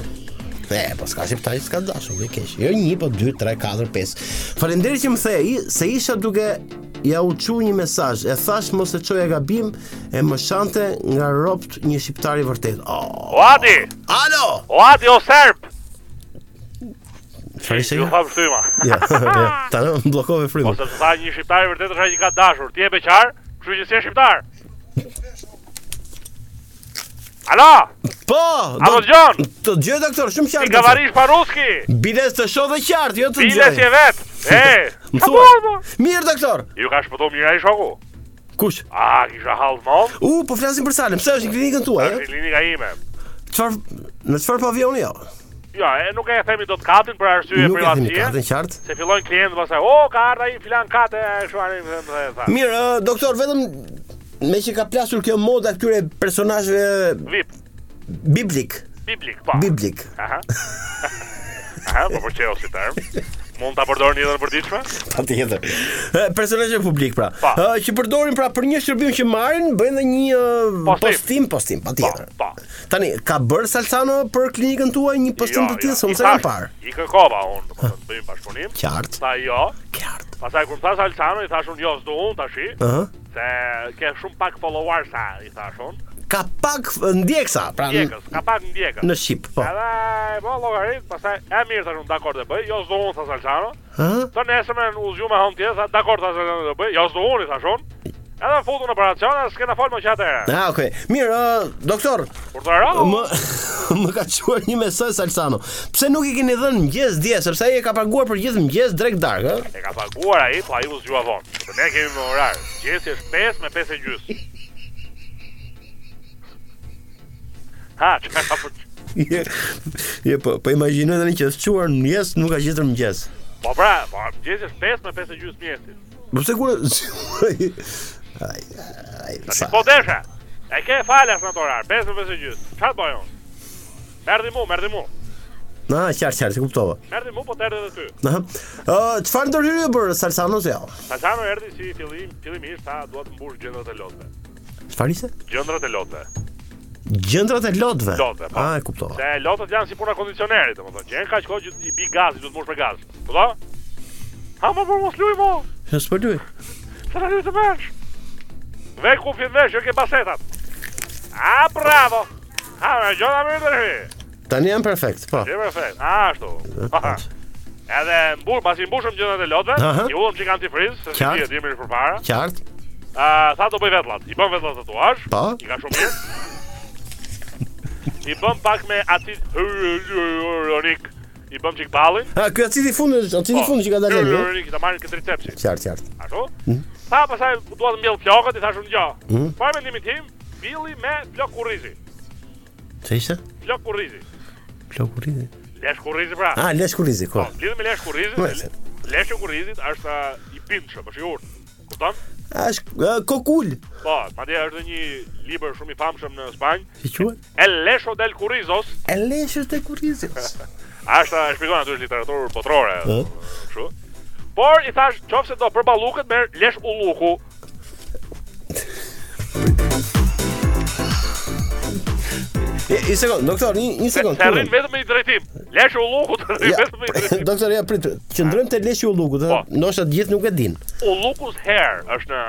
Speaker 6: E, po s'ka shqiptari s'ka dashur, e keq. Jo 1, po 2, 3, 4, 5. Faleminderit që më the, i- se isha duke ja u çu një mesazh. E thash mos e çoja gabim, e më shante nga ropt një shqiptar i vërtet. Oh.
Speaker 9: Adi,
Speaker 6: Alo.
Speaker 9: Adi o serb.
Speaker 6: Çfarë ishte?
Speaker 9: Ju
Speaker 6: kjo?
Speaker 9: fam shtyma.
Speaker 6: Ja, ja. Tani më bllokove frymën.
Speaker 9: Ose të tha një shqiptar i vërtet është ai që ka dashur. Ti je beqar, kështu që si je shqiptar. Alo,
Speaker 6: Po,
Speaker 9: a më dëgjon?
Speaker 6: të dëgjoj doktor, shumë
Speaker 9: Ti
Speaker 6: qartë.
Speaker 9: gavarish pa ruski.
Speaker 6: Biles të shoh dhe qartë, jo të
Speaker 9: Bile si e vet. E,
Speaker 6: Më
Speaker 9: ka
Speaker 6: thuaj.
Speaker 9: bërë, mo?
Speaker 6: Mirë doktor.
Speaker 9: Ju ka shpëtu mirë ai shoku.
Speaker 6: Kush?
Speaker 9: A, kisha hall mall.
Speaker 6: U, po flasim për Salem. Pse është në klinikën tuaj?
Speaker 9: Është
Speaker 6: e?
Speaker 9: në klinika ime.
Speaker 6: Çfarë në çfarë pavioni jo?
Speaker 9: Jo, e, nuk e themi dot katin për arsye
Speaker 6: Nuk e kemi
Speaker 9: privatësie.
Speaker 6: katën qartë.
Speaker 9: Se fillojnë klientët pastaj, "O, ka ardha një filan kate, kështu anë." tha.
Speaker 6: Mirë, ë, doktor, vetëm me që ka plasur kjo moda këtyre personazheve
Speaker 9: Vip,
Speaker 6: biblik,
Speaker 9: biblik, po.
Speaker 6: biblik.
Speaker 9: Aha. Aha, po përqeo si term. Mund ta përdorni edhe në përditshme?
Speaker 6: Patjetër. Ë, Personazhe publik pra.
Speaker 9: Pa.
Speaker 6: Ë, që përdorin pra për një shërbim që marrin, bëjnë dhe një ë,
Speaker 9: Postim.
Speaker 6: postim, postim,
Speaker 9: Po,
Speaker 6: patjetër.
Speaker 9: po.
Speaker 6: Tani ka bër Salsano për klinikën tuaj një postim të tillë, s'u kam parë.
Speaker 9: Jo, I kërkova unë, do të thotë, bëjmë bashkëpunim.
Speaker 6: Qartë,
Speaker 9: Tha jo.
Speaker 6: qartë.
Speaker 9: Pastaj kur më tha Salsano i thash unë jo, s'do unë tashi,
Speaker 6: Ëh.
Speaker 9: se ke shumë pak followers sa i thash unë.
Speaker 6: Ka pak f- ndjeksa, pra në,
Speaker 9: Ndjekës, ka pak ndjekës.
Speaker 6: në shqip, po.
Speaker 9: Edhe po llogarit, pastaj e mirë tash unë dakord e bëj, jo s'do unë tha Salsano.
Speaker 6: Ëh?
Speaker 9: Të nesërmen u zgju me hënë tjetër, tha dakord tha Salsano do bëj, jo s'do unë i thash unë. Edhe futu në operacion, s'kena fol më që atëherë.
Speaker 6: Ah, okay. Mirë, ë, doktor,
Speaker 9: Kur të rao,
Speaker 6: Më më ka çuar një mesazh Salsano. Pse nuk i keni dhënë mëngjes dje, sepse ai e ka paguar për gjithë mëngjes drek darkë, ë?
Speaker 9: E ka paguar ai, po ai u zgjua vonë. Po ne kemi me orar. Gjesi është 5 me 5 e gjys. Ha, çka ka për...
Speaker 6: Je, je po, po imagjinoj tani që është çuar në mëngjes, nuk ka gjetur mëngjes.
Speaker 9: Po pra, po, gjesi është 5 me 5 e gjys mjesit.
Speaker 6: Po pse kur ai ai sa.
Speaker 9: Po desha. E ke falas në atë orar, 5 me 5 e gjys. Çfarë të bëj unë? Merdi mu, merdi mu.
Speaker 6: Na, qartë, qartë, e kuptova.
Speaker 9: Merdi mu, po të erdhe edhe ty.
Speaker 6: Na. Ë, çfarë ndërhyrje bër Salsano se jo?
Speaker 9: Tasano erdi si fillim, fillimisht tha dua të mbush gjendrat e lotëve.
Speaker 6: Çfarë ishte?
Speaker 9: Gjendrat e lotëve.
Speaker 6: Gjendrat e lotëve.
Speaker 9: Lotëve, po.
Speaker 6: Ah, e kuptova.
Speaker 9: Se lotët janë si puna kondicionerit, domethënë. Gjen kaq kohë që i bi gazi, duhet të mbush me gaz. Po? Ha më për mos luj mo.
Speaker 6: Jo, S'po luaj.
Speaker 9: Sa të të vesh? Ve ku fi vesh, jo ke basetat. A, bravo! Ha, me gjona më të rëhi.
Speaker 6: Tani jam perfekt, po.
Speaker 9: Gjë me fejt. A, ashtu. Aha. Edhe mbur, pas i mbushëm gjënat e lotëve,
Speaker 6: Aha.
Speaker 9: i ullëm që i kanë ti frizë, se si
Speaker 6: Qartë.
Speaker 9: tjetë jemi për para.
Speaker 6: Qartë.
Speaker 9: Uh, tha do bëj vetlat. I bën vetlat tatuazh.
Speaker 6: Po.
Speaker 9: I ka shumë mirë. I bën pak me acid hyaluronik. I bën çik ballin.
Speaker 6: Ah, ky acidi fundi, acidi
Speaker 9: Po,
Speaker 6: fundi që ka dalë. Mm. jo?
Speaker 9: Hyaluronik, ta marrin këtë recepsi.
Speaker 6: Qartë, qartë.
Speaker 9: Ashtu? Tha pastaj dua të mbjell flokët, i thash unë gjë.
Speaker 6: Mm.
Speaker 9: Para mendimin tim, billi me flok kurrizi.
Speaker 6: Çe ishte?
Speaker 9: Flok kurrizi.
Speaker 6: Plokurizi.
Speaker 9: Lesh kurrizi pra.
Speaker 6: Ah, lesh kurizi,
Speaker 9: Po,
Speaker 6: ko.
Speaker 9: lidhë me lesh kurrizit.
Speaker 6: Mëse.
Speaker 9: Lesh i kurrizit është ah, i bindshëm, është i urtë. Kupton?
Speaker 6: A është ë, kokul.
Speaker 9: Po, madje është dhe një libër shumë i famshëm në Spanjë,
Speaker 6: Si quhet?
Speaker 9: El Lesho del Currizos,
Speaker 6: E leshës të kurizës.
Speaker 9: Ashta e shpjegon aty është literaturë botërore.
Speaker 6: Po.
Speaker 9: Kështu. Por i thash, qofse do për ballukët merr lesh ulluku.
Speaker 6: Një një sekond, doktor, një, një
Speaker 9: Se
Speaker 6: sekond.
Speaker 9: se rrin vetëm me i drejtim. Lesh ullukut rrin
Speaker 6: Ja,
Speaker 9: vetëm me i drejtim.
Speaker 6: doktor, ja prit. Qëndrojmë te leshi ulluku, do
Speaker 9: Po.
Speaker 6: ndoshta të gjithë nuk e din.
Speaker 9: Ulluku's hair është në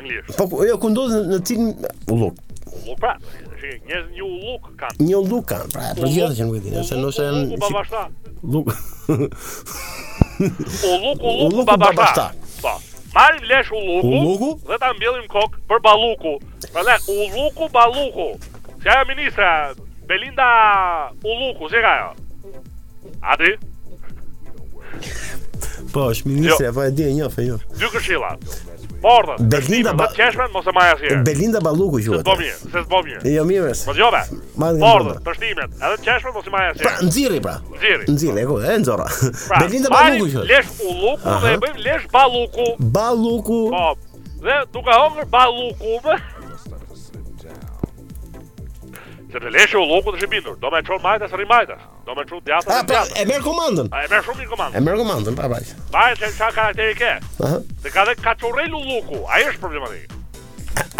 Speaker 9: anglisht.
Speaker 6: Po ku- jo ku ndodh në cilin ulluk?
Speaker 9: Ulluk pra. Shikoj, njerëz një ulluk kanë.
Speaker 6: Një ulluk kanë, pra, për gjithë që nuk e din, se ndoshta janë
Speaker 9: Ulluku babashta.
Speaker 6: ulluk.
Speaker 9: Ulluk
Speaker 6: Ulluku
Speaker 9: ulluk babashta.
Speaker 6: babashta.
Speaker 9: Po. Marim lesh ulluku,
Speaker 6: Ulluku?
Speaker 9: dhe ta mbjellim kokë për balluku. Prandaj ulluku balluku. Si ajo ministra Belinda Ulluku, si e ka ajo? Ati, Jo.
Speaker 6: Po, është ministri, apo e di e njoh, e njoh.
Speaker 9: dy këshilla. bardhë.
Speaker 6: Belinda Ba-
Speaker 9: Ba... Të qeshmen mos e marr asnjë.
Speaker 6: Belinda Balluku
Speaker 9: Se
Speaker 6: quhet.
Speaker 9: s'bo mirë, se s'bo mirë.
Speaker 6: Jo mirë. res.
Speaker 9: Po dëgjove.
Speaker 6: Ma nga
Speaker 9: Bardhë,
Speaker 6: bardhë.
Speaker 9: trashtimet, edhe të qeshmen mos i marr
Speaker 6: Pra,
Speaker 9: asnjë.
Speaker 6: nxirri pra.
Speaker 9: Nxirri.
Speaker 6: Nxirri, e ku, e nxorra.
Speaker 9: Pra,
Speaker 6: Belinda
Speaker 9: marrim
Speaker 6: Balluku quhet.
Speaker 9: Lesh ulluku dhe e bëjmë lesh balluku.
Speaker 6: Balluku.
Speaker 9: Po. Dhe duke hongër balluku. më. Se të leshe ulluku të shibindur, do me qonë majtas rri majtas, do me qonë djatës
Speaker 6: Ah,
Speaker 9: e
Speaker 6: pra,
Speaker 9: djatës.
Speaker 6: e merr komandën.
Speaker 9: A e merë shumë mirë komandë.
Speaker 6: E merr komandën, pa bajt.
Speaker 9: Pare që qa karakteri ke.
Speaker 6: Aha.
Speaker 9: Dhe ka dhe kaçurrel ulluku, ai është problematik.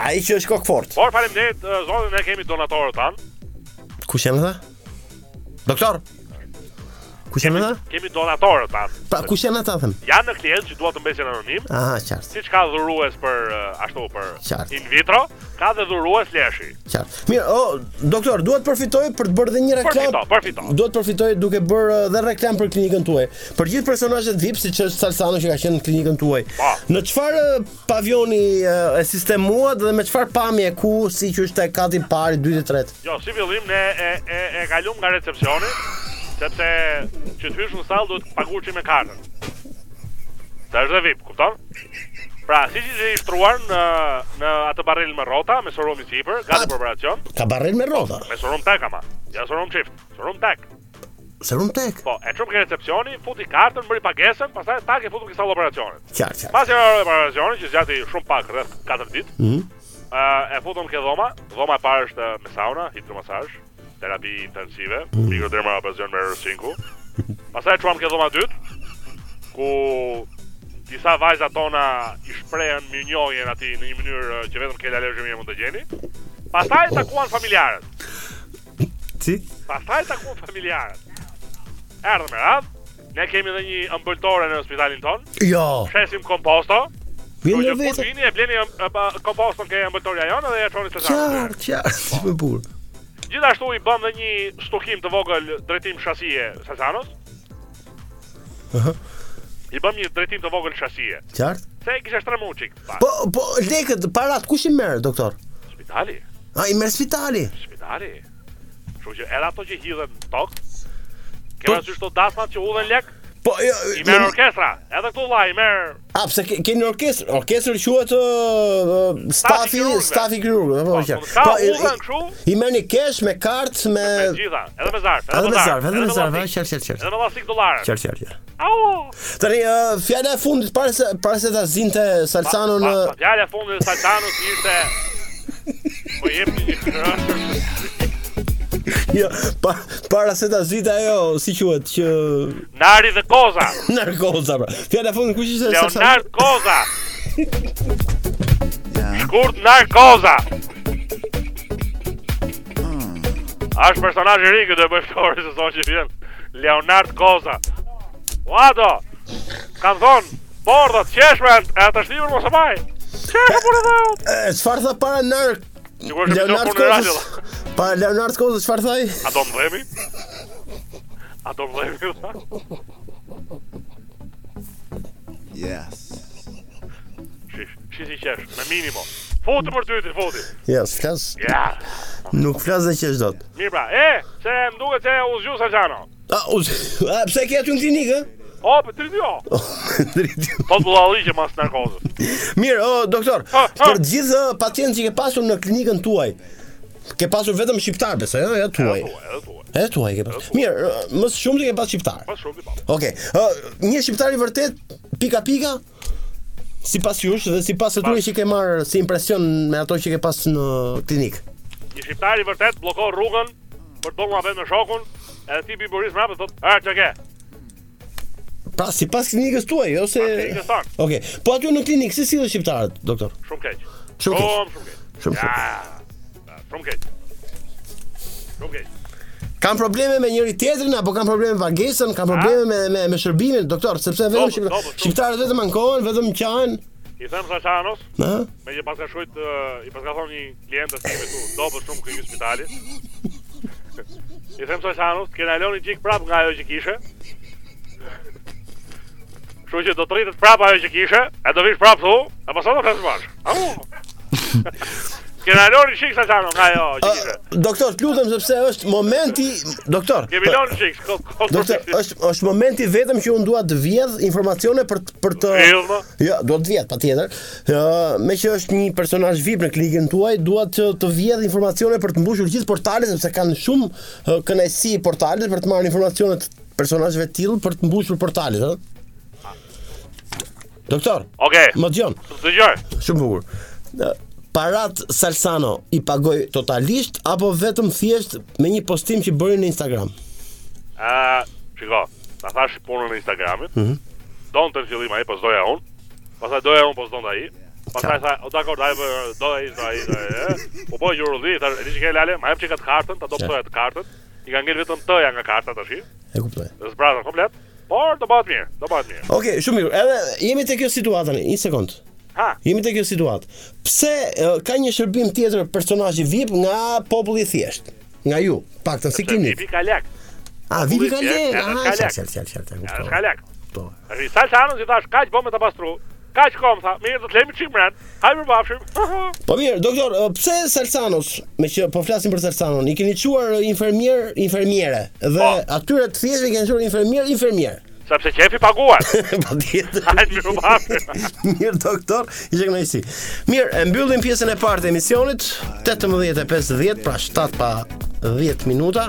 Speaker 6: Ai që është kok fort.
Speaker 9: Por faleminderit eh, zonën ne kemi donatorët tan.
Speaker 6: Kush jam tha? Doktor. Kush jam tha?
Speaker 9: Kemi donatorët tan.
Speaker 6: Pra, kush jam ata them?
Speaker 9: Janë në klientë që duan të mbesin anonim,
Speaker 6: Aha, qartë,
Speaker 9: siç ka dhurues për eh, ashtu për
Speaker 6: Qartë.
Speaker 9: in vitro, ka dhe dhurues leshi.
Speaker 6: qartë. Mirë, o, doktor, duhet përfitoj për të bërë dhe një reklam.
Speaker 9: Përfito, përfito.
Speaker 6: Duhet përfitoj duke bërë uh, dhe reklam për klinikën tuaj. Për gjithë personazhet VIP siç është Salsano që ka qenë në klinikën tuaj.
Speaker 9: Pa.
Speaker 6: Në çfarë uh, pavioni uh, e sistemuat dhe me çfarë pamje ku si që është tek kati i parë, i dytë, i tretë.
Speaker 9: Jo, si fillim ne e e e kalum nga recepsioni, sepse që të hysh në sallë duhet të paguash që me kartën. Ta është dhe VIP, kupton? Pra, si që i shtruar në, në atë barrel me rota, me sorum i sipër, gati për operacion,
Speaker 6: Ka barrel me rrota.
Speaker 9: me sorum tek ama, ja sorum qift, sorum tek.
Speaker 6: Se rum tek.
Speaker 9: Po, e çum ke recepcioni, futi kartën, bëri pagesën, pastaj tak e futu ke sallë operacionit.
Speaker 6: Qartë, qartë.
Speaker 9: Pas një orë operacionit, që zjati shumë pak rreth 4 ditë, mm e futëm ke dhoma, dhoma e parë është eh, me sauna, hidromasazh, terapi intensive, mm. mikroderma operacion me R5. Pastaj çuam ke dhoma dytë, ku disa vajza tona i shprehen mirënjohjen aty në një mënyrë eh, që vetëm Kela Lergjë mirë mund të gjeni. Pastaj takuan familjarët.
Speaker 6: Ti?
Speaker 9: Pastaj takuan familjarët. Erdhëm me radhë, ne kemi edhe një ëmbëltore në spitalin ton,
Speaker 6: Jo.
Speaker 9: shesim komposto, Po
Speaker 6: Vjen
Speaker 9: që
Speaker 6: në
Speaker 9: kur
Speaker 6: vetë.
Speaker 9: vini e bleni ëm, ëm, ë, kompostën ke ëmbëltorja jonë dhe e çoni të zartë.
Speaker 6: Qartë, qartë. Si më bur.
Speaker 9: Gjithashtu i bëm dhe një stukim të vogël drejtim shasie Sasanos. I bëm një drejtim të vogël shasie.
Speaker 6: Qartë.
Speaker 9: Se e kisha shtremu çik. pa.
Speaker 6: Po, po, lekët, parat, kush i merë, doktor?
Speaker 9: Spitali,
Speaker 6: A, i merë spitali.
Speaker 9: spitali. Kështu që edhe ato që hidhen në tokë, Kema që shto dasmat që udhen lek,
Speaker 6: Po, jo,
Speaker 9: i merë orkestra, edhe këtu vlla, i merë
Speaker 6: A, pse ke- keni orkestrë? Orkestrë quhet uh, uh, stafi,
Speaker 9: kirurgëve.
Speaker 6: stafi kirurgë, apo
Speaker 9: Po,
Speaker 6: që.
Speaker 9: ka udhën kështu?
Speaker 6: I merrni kesh me kartë me
Speaker 9: me gjitha, edhe me zarf,
Speaker 6: Edhe me zarf, edhe me zarf,
Speaker 9: plastik,
Speaker 6: qer qer qer.
Speaker 9: edhe me plastik dolarë.
Speaker 6: Qer qer qer.
Speaker 9: Au!
Speaker 6: Tani uh, fjala e fundit para se para se ta zinte Salsano në
Speaker 9: Pa, pa, fjala e fundit e Saltanut ishte Po jep një
Speaker 6: jo, pa, para se ta zinte ajo, si quhet që
Speaker 9: Nari dhe Koza
Speaker 6: narkoza pra. Fjala e fundit kush ishte
Speaker 9: Leonard Koza Shkurt Nar Koza
Speaker 6: Ah.
Speaker 9: A është personazh i ri këtë e bëj ftori se thonë që vjen Leonard Koza Uado Kam thonë Bordot, qeshmen, e të shtimur mos e baj Qeshme punë dhe
Speaker 6: E, Çfarë tha para nar
Speaker 9: Sigur është më
Speaker 6: Leonard
Speaker 9: punë në radio
Speaker 6: Kozës? Pa Leonard Kozës çfarë thaj?
Speaker 9: A do më dhemi? A do më dhemi? tha?
Speaker 2: Yes.
Speaker 9: Shish, shish i qesh, me minimo. Futi për ty, futi.
Speaker 6: Jo, s'flas,
Speaker 9: Ja.
Speaker 6: nuk flas dhe qesh dot.
Speaker 9: Mirë pra, e, se më duket se u zgju Salçano.
Speaker 6: A, u, a pse ke aty në klinikë?
Speaker 9: O, për të rrjo.
Speaker 6: Drejtë.
Speaker 9: Po të bullalli që mas narkozës.
Speaker 6: Mirë, o doktor,
Speaker 9: Ha, ha.
Speaker 6: për gjithë ë, pacientët që ke pasur në klinikën tuaj, ke pasur vetëm shqiptar, besoj, ëh, ja
Speaker 9: Edhe
Speaker 6: tuaj.
Speaker 9: tu, edhe tu.
Speaker 6: E tuaj ke pasur. Mirë, ë, më së shumti ke pasur shqiptar.
Speaker 9: Pas shumë i papë.
Speaker 6: Okej. ë, një shqiptar i vërtet pika pika sipas jush dhe sipas atyre që ke marrë si impresion me ato që ke pas në klinik.
Speaker 9: Një shqiptar i vërtet bllokon rrugën për të bërë muhabet me shokun, edhe ti bi buris mrapë thotë, "A çka ke?"
Speaker 6: Pra sipas klinikës tuaj ose
Speaker 9: Pas klinikës tonë.
Speaker 6: Okej. Po aty në klinik si sillen shqiptarët, doktor?
Speaker 9: Shumë keq.
Speaker 6: Shumë keq.
Speaker 9: Shumë shumë keq.
Speaker 6: Shumë keq.
Speaker 9: Ja, Shumë keq. Shumë keq.
Speaker 6: Kan probleme me njëri tjetrin apo kanë probleme me pagesën, kanë probleme me me, me shërbimin, doktor, sepse vetëm
Speaker 9: Dobët,
Speaker 6: shqiptarët,
Speaker 9: dobët, shumë.
Speaker 6: shqiptarët vetëm ankohen, vetëm qajnë.
Speaker 9: I them Salçanos,
Speaker 6: Ëh?
Speaker 9: me që pas ka shkruajt, ë, i pas ka thonë një klient të time tu, dobët shumë këy spitalit. I them Salçanos, kena lënë gjik prap nga ajo që kishe. Kështu që do të rritet prap ajo që kishe, e do vish prap thu, e pastaj do flasim bash. Au. Kena lori shik sa qano nga jo, gjithë.
Speaker 6: Doktor, të lutem sepse është momenti, doktor.
Speaker 9: Kemi lori shik, ko, ko, ko,
Speaker 6: Doktor, është është momenti vetëm që unë dua të vjedh informacione për të- për të
Speaker 9: Vjedh, mo?
Speaker 6: Jo, dua të vjedh patjetër. Ë, me që është një personazh VIP në klikën tuaj, dua të të vjedh informacione për të mbushur gjithë portalet sepse kanë shumë ë, kënaqësi portalet për të marrë informacione të personazheve të tillë për të mbushur portalet, ë? Doktor,
Speaker 9: Okej,
Speaker 6: më dëgjon.
Speaker 9: të gjoj.
Speaker 6: Shumë bukur. Ë, Parat Salsano i pagoj totalisht apo vetëm thjesht me një postim që bëri në Instagram?
Speaker 9: Ë, shiko, ta thash punën e Instagramit. Mhm. Donte në fillim ai, po s'doja unë. Pastaj doja unë, po s'donte ai. Pastaj tha, "O dakor, ai do ai, do ai." do ai, e." Po po gjurulli, tha, "Ti çka lale, më jep çka të kartën, ta do
Speaker 6: Qa?
Speaker 9: të të kartën." I ka ngel vetëm T-ja nga karta tash.
Speaker 6: E kuptoj.
Speaker 9: Zbrazën komplet. Por do bëhet mirë, do bëhet mirë.
Speaker 6: Okej, shumë mirë. Edhe jemi te kjo situatë tani, një sekond.
Speaker 9: Ha,
Speaker 6: Jemi te kjo situatë. Pse e, ka një shërbim tjetër personazhi VIP nga populli i thjesht? Nga ju, paktën si klinik.
Speaker 9: tipi ka lek.
Speaker 6: Ah, VIP ka
Speaker 9: populli
Speaker 6: lek.
Speaker 9: i thjesht,
Speaker 6: Ah,
Speaker 9: ka
Speaker 6: çal
Speaker 9: lek.
Speaker 6: çal çal çal çal.
Speaker 9: Ja, Ka lek.
Speaker 6: Po.
Speaker 9: Ai sa çanën si thash, kaq bomë ta pastru. Kaq kom tha, mirë do të lemi çik mren. Hajde bafshim.
Speaker 6: Po mirë, doktor, e, pse Salsanos, me që po flasim për Salsanon, i keni çuar e, infermier, infermiere dhe
Speaker 9: Po.
Speaker 6: atyre të thjeshtë i keni çuar infermier, infermier.
Speaker 9: Sepse qefi paguan.
Speaker 6: Po, Patjetër.
Speaker 9: Hajde mirë bafshim.
Speaker 6: Mirë doktor, ishte kënaqësi. Mirë, e mbyllim pjesën e parë të emisionit, 18:50, pra 7 pa 10 minuta.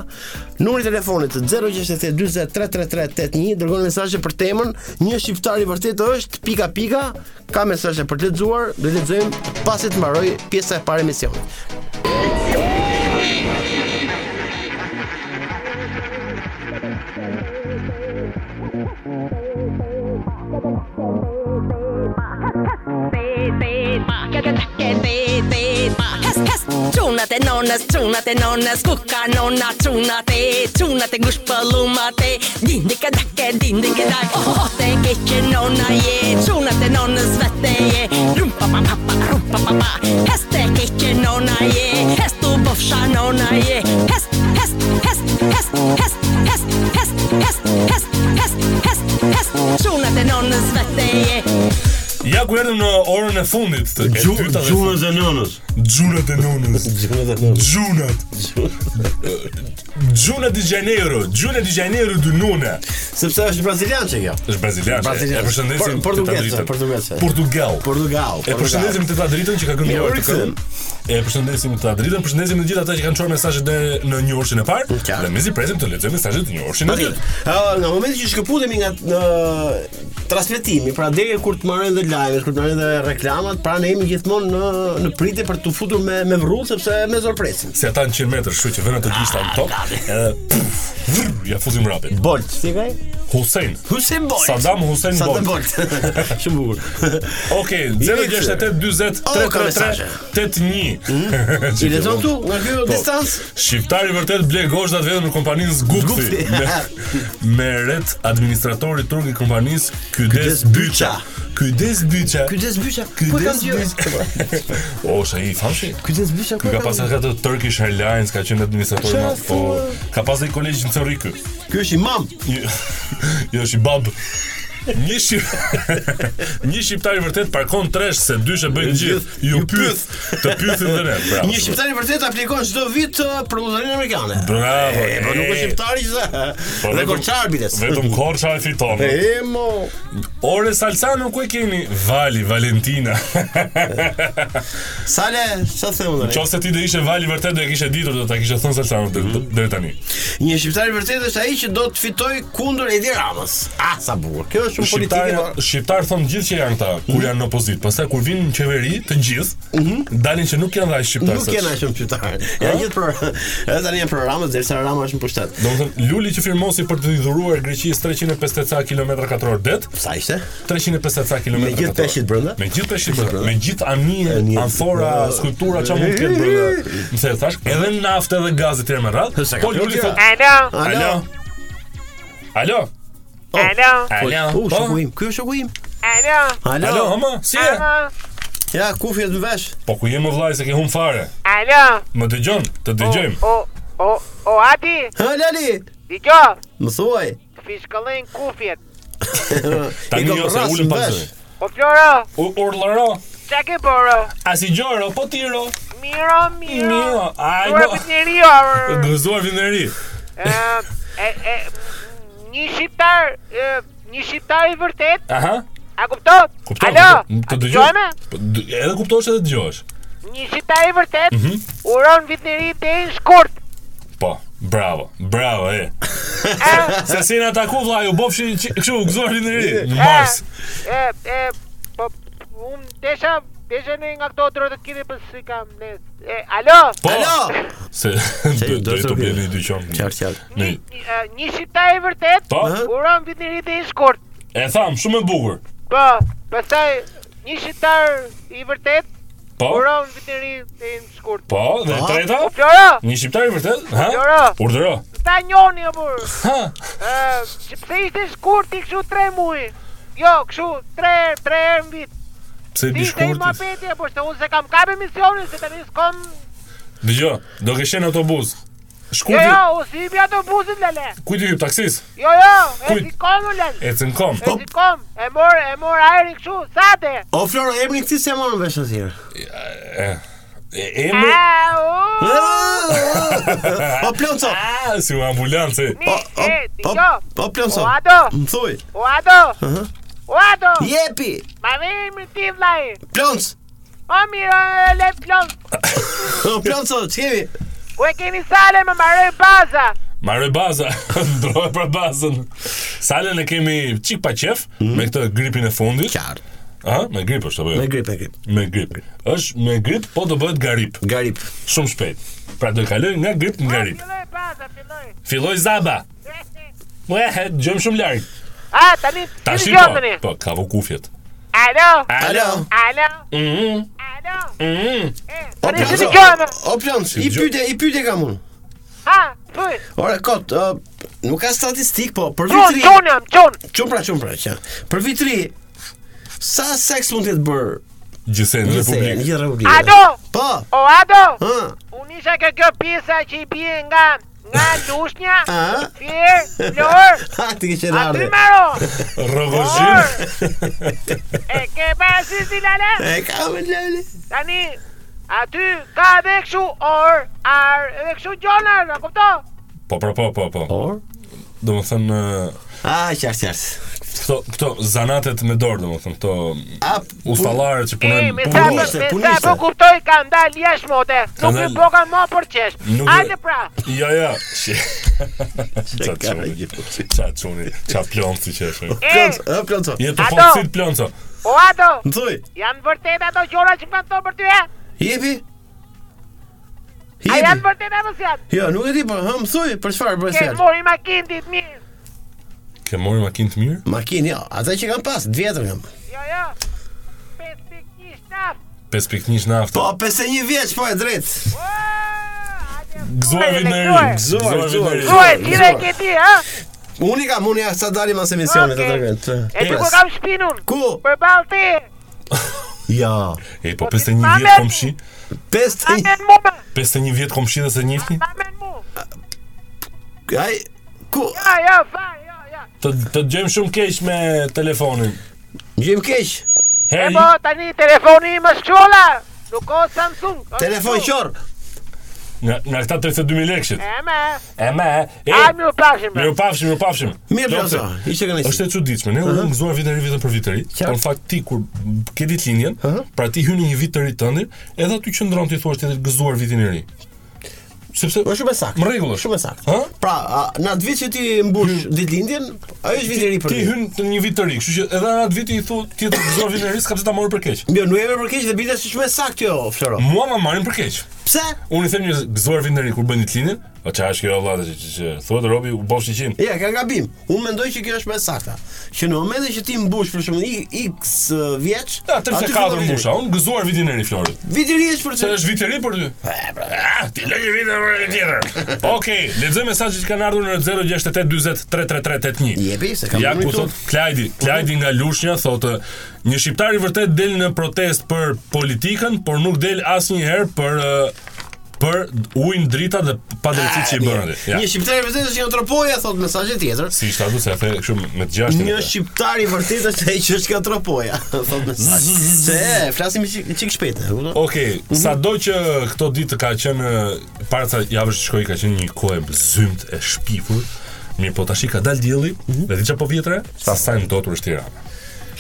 Speaker 6: Numri i telefonit 0692033381, dërgoni mesazhe për temën, një shqiptar i vërtet është pika pika, ka mesazhe për të lexuar, do i lexojmë pasi të mbaroj pjesa e parë e emisionit.
Speaker 10: Tunate nonas, tunate nonas, kukka nonna, tunate, tunate gushpallumate, dindike dakke, dindike dak, ohote keqe nonna je, tunate nonas vette je, rumpa pa pa pa, rumpa pa pa, heste keqe nonna je, hestu bofsha nonna je, hest, hest, hest, hest, hest, hest, hest, hest, hest, hest, hest, hest, tunate nonas vette je,
Speaker 8: Ja ku erdhëm në orën e fundit të e dyta dhe-
Speaker 2: Gjunës e nënës
Speaker 8: Gjunat e nonës Gjunat Gjunat di Janeiro Gjunat di Janeiro du nona
Speaker 6: Sepse është brazilian që kjo.
Speaker 8: është brazilian
Speaker 6: Brazilian.
Speaker 8: E përshëndesim
Speaker 6: Por- portugese,
Speaker 8: të ta drejtën.
Speaker 6: portugese.
Speaker 8: Portugal
Speaker 6: Portugal.
Speaker 8: E përshëndesim të ta dritën që ka kënduar
Speaker 6: Mirë,
Speaker 8: të këngë. E përshëndesim të ta dritën, përshëndesim të gjithë ata që kanë çuar mesazhet e- në një orëshin e parë
Speaker 6: Qartë.
Speaker 8: dhe mezi presim të lexojmë mesazhet e një orëshin e
Speaker 6: Patjetër.
Speaker 8: dytë.
Speaker 6: Ë, nga momenti që shkëputemi nga uh, transmetimi, pra deri kur të marrin dhe live, kur të marrin dhe reklamat, pra ne jemi gjithmonë në në pritje për të futur me me vrrull sepse me zorpresin.
Speaker 8: Se ata në 100 metrë, kështu që vënë
Speaker 6: Ah,
Speaker 8: të gishta në top. Edhe pff, vrr, ja fusim rapid.
Speaker 6: Bolt, si ka?
Speaker 8: Hussein.
Speaker 6: Hussein Bolt.
Speaker 8: Saddam Hussein
Speaker 6: Saddam
Speaker 8: Bolt.
Speaker 6: Bolt. Shumë bukur.
Speaker 8: Okej, 068 40
Speaker 6: O, ka
Speaker 8: 333
Speaker 6: mesazhe.
Speaker 8: 81.
Speaker 6: I lexon tu nga ky
Speaker 8: Po.
Speaker 6: distancë?
Speaker 8: Shqiptari vërtet ble gozhdat vetëm në kompaninë Zgupthi
Speaker 6: Zgupthi.
Speaker 8: me, me ret administratori turk i kompanisë Kydes
Speaker 6: Kydes
Speaker 8: Byça. Kydes Byça.
Speaker 6: Ky des byça. Po kam
Speaker 8: Kydes
Speaker 6: dëgjuar.
Speaker 8: Byça. O, sa i famshi.
Speaker 6: Ky des byça.
Speaker 8: Ky ka pasur atë Turkish Airlines, ka qenë administrator i madh,
Speaker 6: Qa
Speaker 8: po
Speaker 6: thua?
Speaker 8: ka pasur kolegj në Cerri ky.
Speaker 6: Ky është imam.
Speaker 8: Një- Jo, është i bab. Një shqip... një shqiptar i vërtet parkon tresh se dyshe bëjnë gjithë. Ju pyth, të pythin dhe ne. Bravo.
Speaker 6: Një shqiptar i vërtet aplikon çdo vit ë, për lotarinë amerikane.
Speaker 8: Bravo.
Speaker 6: E, po nuk është shqiptari që tha.
Speaker 8: Po
Speaker 6: Dhe
Speaker 8: vetëm-
Speaker 6: korçar bites.
Speaker 8: Vetëm Korça e fiton.
Speaker 6: E mo.
Speaker 8: Ore Salsano ku e keni? Vali Valentina.
Speaker 6: Sale, çfarë them unë?
Speaker 8: Qose ti do ishe Vali vërtet do e kishe ditur do ta kishe thënë Salsano deri-
Speaker 6: Mhm.
Speaker 8: deri tani.
Speaker 6: Një shqiptar i vërtetë është ai që do të fitoj kundër Edi Ramës. Ah, sa bukur. Kjo është shumë
Speaker 8: Shqiptar,
Speaker 6: politike. po.
Speaker 8: shqiptar thonë gjithë që janë këta kur
Speaker 6: Mhm.
Speaker 8: janë në opozitë. Pastaj kur vinë në qeveri, të gjithë dalin që nuk janë dha shqiptar.
Speaker 6: Nuk janë ashtu shqiptar. Janë gjithë për edhe tani janë për Ramës derisa Rama është në pushtet.
Speaker 8: Do të thënë Luli që firmosi për të i dhuruar Greqisë 350 km/orë det,
Speaker 6: Sa ishte?
Speaker 8: 350 km.
Speaker 6: Me gjithë peshqit brenda?
Speaker 8: Me gjithë peshqit brenda. Me gjithë anije,
Speaker 6: Anije.
Speaker 8: amfora,
Speaker 6: Ë.
Speaker 8: skulptura çfarë mund të ketë brenda. Pse e thash? Edhe naftë edhe gaz etj me radhë.
Speaker 6: Se ka
Speaker 8: Po Luli
Speaker 6: plotja.
Speaker 8: thotë,
Speaker 9: Alo.
Speaker 8: "Alo." Alo.
Speaker 6: Oh.
Speaker 9: Alo.
Speaker 8: Alo.
Speaker 6: U,
Speaker 8: Po?
Speaker 6: shoku im. Ky është shoku im.
Speaker 9: Alo.
Speaker 8: Alo,
Speaker 6: Alo.
Speaker 8: hama, si e?
Speaker 6: Ja, kufi është në vesh.
Speaker 8: Po ku je më vllai se ke hum fare?
Speaker 9: Alo.
Speaker 8: Më dëgjon, të dëgjojmë.
Speaker 6: Oh,
Speaker 9: O o o Adi,
Speaker 6: Ha, Lali.
Speaker 9: dëgjoj.
Speaker 6: Më thuaj.
Speaker 9: Fishkallën kufjet.
Speaker 8: Tani jo se ulën pas.
Speaker 9: Po Flora,
Speaker 8: U urllëro,
Speaker 9: çka ke bërë?
Speaker 8: as i gjoro, po tiro.
Speaker 11: Miro, miro.
Speaker 8: Miro, ai,
Speaker 11: Duar
Speaker 8: mo-
Speaker 11: për njeriu, arë.
Speaker 8: Gëzuar vineri.
Speaker 11: E, e, e, një shqiptar, e, një shqiptar i vërtet,
Speaker 8: Aha.
Speaker 11: a kupton?
Speaker 8: Kuptoj.
Speaker 11: Alo,
Speaker 8: kuptoj. Të
Speaker 11: a
Speaker 8: dëgjoj.
Speaker 11: dëgjojme?
Speaker 8: Po, dë- Edhe kuptosh edhe dëgjosh.
Speaker 11: një shqiptar i vërtet,
Speaker 8: Mhm.
Speaker 11: uron vit në ri deri në shkurt.
Speaker 8: Po, bravo, bravo, e. Se si në ataku vllai, u bofshi qi- kështu u gëzuar vineri
Speaker 11: Eh.
Speaker 8: në Mars.
Speaker 11: E, e, po, unë desha, desha në nga këto drotë të kire, për si kam, ne, e, alo?
Speaker 8: Po.
Speaker 6: Oh.
Speaker 8: Se do do të bëjë një dyqan. Qartë,
Speaker 6: qartë.
Speaker 8: Në
Speaker 11: E, një shqiptar i vërtet,
Speaker 8: Po.
Speaker 11: uron vit në ri deri në shkurt.
Speaker 8: E tham, shumë e bukur.
Speaker 11: Po, pastaj një shqiptar i vërtet
Speaker 8: Po.
Speaker 11: Uron vitëri të në shkurt.
Speaker 8: Po, dhe
Speaker 11: Aha.
Speaker 8: treta?
Speaker 11: Po, Flora!
Speaker 8: Një shqiptar i vërtet? Ha?
Speaker 11: Flora!
Speaker 8: Urdhëro.
Speaker 11: Ta njoni apo.
Speaker 8: Ha.
Speaker 11: Ë, që pse ishte shkurt i kështu 3 muaj? Jo, kështu 3 3 herë në vit.
Speaker 8: Pse i
Speaker 11: Ti ishte i
Speaker 8: bishkurti?
Speaker 11: mapeti apo se unë se kam kap emisionin se tani s'kam.
Speaker 8: Dëgjoj, do ke qenë në autobus.
Speaker 11: Jo,
Speaker 8: Shkurti,
Speaker 11: jo, u si bi autobusin lale.
Speaker 8: kujt i jep taksis?
Speaker 11: Jo, jo, e
Speaker 8: Kujt?
Speaker 11: si kom u lale.
Speaker 8: E cënkom.
Speaker 11: E si kom, e mor, e mor ajrin kështu, sate.
Speaker 6: O Floro, emri këtij se morën vesh asnjëherë.
Speaker 8: E emri?
Speaker 11: Ah.
Speaker 6: Po plonco.
Speaker 8: Ah, si u ambulancë.
Speaker 11: Po, po,
Speaker 8: jo.
Speaker 6: Po plonco.
Speaker 11: O ato,
Speaker 6: Më thuj.
Speaker 11: o ato,
Speaker 6: Aha.
Speaker 11: o ato.
Speaker 6: Jepi.
Speaker 11: Ma vej më ti vllai.
Speaker 6: Plonc.
Speaker 11: O mira, e le plon.
Speaker 6: O plonco, ç'kemi?
Speaker 11: Ku e keni sale më marrë baza.
Speaker 8: Marrë baza, ndrohe për bazën. Salën e kemi çik pa qef me këtë gripin e fundit.
Speaker 6: Mhm. Qartë.
Speaker 8: Ëh, me grip është apo jo?
Speaker 6: Me grip, me grip.
Speaker 8: Me grip. Është me grip, po do bëhet garip.
Speaker 6: Garip.
Speaker 8: Shumë shpejt. Pra do kaloj nga grip në garip.
Speaker 11: Filloj baza, filloj.
Speaker 8: Filloj zaba. Ua, gjëm shumë larg.
Speaker 11: A, tani,
Speaker 8: Tashi
Speaker 11: si
Speaker 8: po.
Speaker 11: dëgjoni?
Speaker 8: Po, ka vu kufjet.
Speaker 11: Alo.
Speaker 8: Alo.
Speaker 11: Alo.
Speaker 6: Mm.
Speaker 8: Mhm.
Speaker 11: Alo.
Speaker 8: Mhm.
Speaker 6: O
Speaker 11: Tani si
Speaker 6: plonco.
Speaker 11: dëgjoni?
Speaker 6: O plonco, i pyetje, i pyetje kam unë.
Speaker 11: Ha, thuj.
Speaker 6: Ore kot, ë, nuk ka statistik, po për
Speaker 11: Çun,
Speaker 6: vitri.
Speaker 11: çun jam, çun.
Speaker 6: Çum pra, çum pra, që. Për vitri sa seks mund të jetë bër?
Speaker 8: Gjithsej në Republikë.
Speaker 6: Gjithë
Speaker 11: Ado.
Speaker 6: Republikë. Po.
Speaker 11: O ado.
Speaker 6: Ha.
Speaker 11: Unë isha kë kjo pjesa që i bie nga nga lushnja,
Speaker 6: Ha?
Speaker 11: Fier, Flor,
Speaker 6: Ha, ti ke qenë
Speaker 11: aty
Speaker 6: ardhe.
Speaker 11: maro.
Speaker 6: Po,
Speaker 8: Rrogozhin.
Speaker 11: E ke pasi si lale?
Speaker 6: E ka me lele.
Speaker 11: Tani, aty ka edhe këshu or, ar, edhe këshu gjonar, a kupto?
Speaker 8: Po, po, po, po, po.
Speaker 6: Or?
Speaker 8: Do më thënë,
Speaker 6: Ah, qartë, qartë.
Speaker 8: këto, këto zanatet me dorë, do më thënë, këto
Speaker 6: A,
Speaker 8: ustallarë që
Speaker 11: E,
Speaker 8: punojnë
Speaker 11: me sa
Speaker 8: punojnë-
Speaker 11: me
Speaker 6: puniste,
Speaker 11: sa
Speaker 6: puniste.
Speaker 11: po kuptoj ka ndal jashtë mote.
Speaker 8: Ka
Speaker 11: Nuk i
Speaker 8: ndal-
Speaker 11: boka më për qesh.
Speaker 8: Nuk e-
Speaker 11: Hajde pra.
Speaker 8: Jo, jo. Shi- Qa
Speaker 6: ka
Speaker 8: çuni.
Speaker 6: gjithë?
Speaker 8: Qa çuni. Qa plonci që është.
Speaker 6: Plonco,
Speaker 11: E,
Speaker 6: ë, plonco.
Speaker 8: Je të
Speaker 11: Ato.
Speaker 8: foksit plonco.
Speaker 11: o ato,
Speaker 6: Më thuj,
Speaker 11: janë vërtet ato gjora që më thonë për ty e?
Speaker 6: jepi.
Speaker 11: A janë
Speaker 6: Jepi.
Speaker 11: vërtet apo si janë?
Speaker 6: Jo, nuk e di, po, hë, më thuj, për çfarë bëhet
Speaker 11: Ke
Speaker 6: fjalë?
Speaker 11: mori makinë ditë mirë.
Speaker 8: Ke marrë makinë të mirë?
Speaker 6: Makinë, jo, ata që kanë pas, të vjetër kanë.
Speaker 11: Jo, jo. Pes pikësh naftë.
Speaker 8: 5.1 naftë.
Speaker 6: Po, 51 vjeç, po e drejtë.
Speaker 11: Ua, hajde.
Speaker 8: Gëzuar
Speaker 11: Hajde,
Speaker 8: vinë në
Speaker 11: gëzuar.
Speaker 8: ri. Gëzuar
Speaker 6: Gëzuar,
Speaker 8: vinë në ri.
Speaker 11: Gjuaj,
Speaker 6: Gëzuar,
Speaker 11: tire
Speaker 6: gëzuar.
Speaker 11: ke ti, ha?
Speaker 6: Unë i kam, unë ja sa dalim as emisionit të
Speaker 11: Okej.
Speaker 6: tregoj. të-
Speaker 11: E ti ku
Speaker 6: pres.
Speaker 11: kam shpinun?
Speaker 6: Ku?
Speaker 11: Për balë ti.
Speaker 6: Ja.
Speaker 8: E, po
Speaker 11: Po,
Speaker 8: 51 vjetë
Speaker 11: ti mamet.
Speaker 8: komshi.
Speaker 11: A
Speaker 6: 51.
Speaker 11: men mu,
Speaker 8: 51 vjetë komshi dhe se njifti?
Speaker 11: a men mu.
Speaker 6: Ai, ku?
Speaker 11: Ja, ja, fa, ja, ja.
Speaker 8: Të, të gjëjmë shumë keq me telefonin.
Speaker 6: Gjim keq.
Speaker 11: E
Speaker 8: Heri,
Speaker 11: po, tani telefoni im është qola. Nuk o Samsung. është
Speaker 6: Telefon
Speaker 11: kështu.
Speaker 6: qor.
Speaker 8: nga, nga këta 32.000 lekshit.
Speaker 11: E me,
Speaker 8: E me, e,
Speaker 11: a më u pashim.
Speaker 8: Mirë u pafshim, mirë u pafshim.
Speaker 6: Mirë
Speaker 8: Plonco.
Speaker 6: plonco. Ishte kënaqësi.
Speaker 8: Është e çuditshme. Ne u gëzuar vitin e ri vetëm për vit të ri.
Speaker 6: Qartë.
Speaker 8: Po në fakt ti kur ke ditë linjen,
Speaker 6: Aha.
Speaker 8: pra ti hyn në një vit të ri tënd, edhe aty qëndron ti thua se të gëzuar vitin e ri. Sepse
Speaker 6: Është Po, shumë e saktë.
Speaker 8: Në rregull është.
Speaker 6: Shumë e saktë.
Speaker 8: Ha?
Speaker 6: Pra, a, në atë vit që ti mbush ditëlindjen, ajo është vit i ri për
Speaker 8: Ti
Speaker 6: ty.
Speaker 8: hyn në një vit të ri, kështu që edhe në atë vit i thu ti të gëzuar vitin e ri, s'ka pse ta marrë për keq.
Speaker 6: Jo, nuk e merr për keq dhe bile është shumë e saktë jo, Floro.
Speaker 8: Mua ma marrin për keq.
Speaker 6: Pse?
Speaker 8: Unë i them një gëzuar vitin e ri kur bën ditë linjen, po çfarë është kjo vëlla që- që që- thuhet robi u bosh 100.
Speaker 6: Ja, ka gabim. Unë mendoj që kjo është më e saktë. Që në momentin që ti mbush për shembull i- x uh, vjeç,
Speaker 8: Ja,
Speaker 6: aty fillon
Speaker 8: 34
Speaker 6: viti i ri.
Speaker 8: musha, unë gëzuar vitin e ri Florit.
Speaker 6: Viti i ri është për
Speaker 8: Se
Speaker 6: ty.
Speaker 8: është vit i ri për ty. Ah, ti lë një vit e ri tjetër. Okej, lexoj mesazhet që kanë ardhur në 0692033381.
Speaker 6: Jepi, se kam
Speaker 8: Ja
Speaker 6: numrin
Speaker 8: ku
Speaker 6: këtu.
Speaker 8: thot Klajdi, Klajdi nga Lushnja thotë një shqiptar i vërtet del në protestë për politikën, por nuk del asnjëherë për ë, eh, për ujin drita dhe padrejtit që i bërën atë.
Speaker 6: Ah, Një shqiptar i vërtetë është një antropoje, thot mesazhi tjetër.
Speaker 8: Si ishte ato se a the kështu me të gjashtin.
Speaker 6: Një shqiptar i vërtetë është ai që është nga antropoja, thot mesazhi. Se e, flasim çik çik shpejt. e kupton?
Speaker 8: Okej, sado që këto ditë ka qenë para sa javësh që shkoi ka qenë një kohë e zymt e shpifur. Mirë, po tash i ka dal dielli, dhe di çfarë po vjetre, sa sa ndotur është Tirana.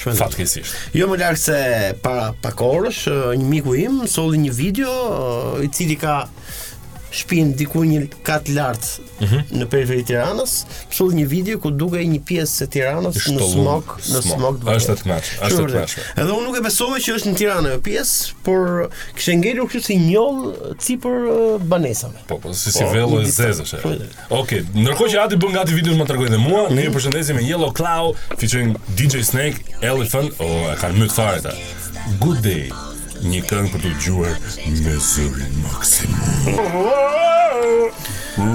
Speaker 8: Fatkeqësisht.
Speaker 6: Jo më larg se para pak orësh, ë, një miku im solli një video ë, i cili ka shtëpinë diku një kat lart
Speaker 8: Mhm.
Speaker 6: në periferi të Tiranës, solli një video ku dukej një pjesë e Tiranës
Speaker 8: I
Speaker 6: në
Speaker 8: shtollur,
Speaker 6: smog, në
Speaker 8: smog.
Speaker 6: smog. të
Speaker 8: Është
Speaker 6: vërtet.
Speaker 8: e tmerrshme,
Speaker 6: Shumë
Speaker 8: është e
Speaker 6: vërtet.
Speaker 8: tmerrshme.
Speaker 6: Edhe unë nuk e besova që është në Tiranë ajo pjesë, por kishte ngelur kështu si njoll sipër ë, banesave.
Speaker 8: Po, po, si si vello e zezësh. e. Okej, ndërkohë që Adi bën gati videon më tregoi dhe mua, ne ju përshëndesim me Yellow Claw, featuring DJ Snake, Elephant, o oh, e kanë mbyt fare ta. Good day. Një këngë për të dëgjuar me zërin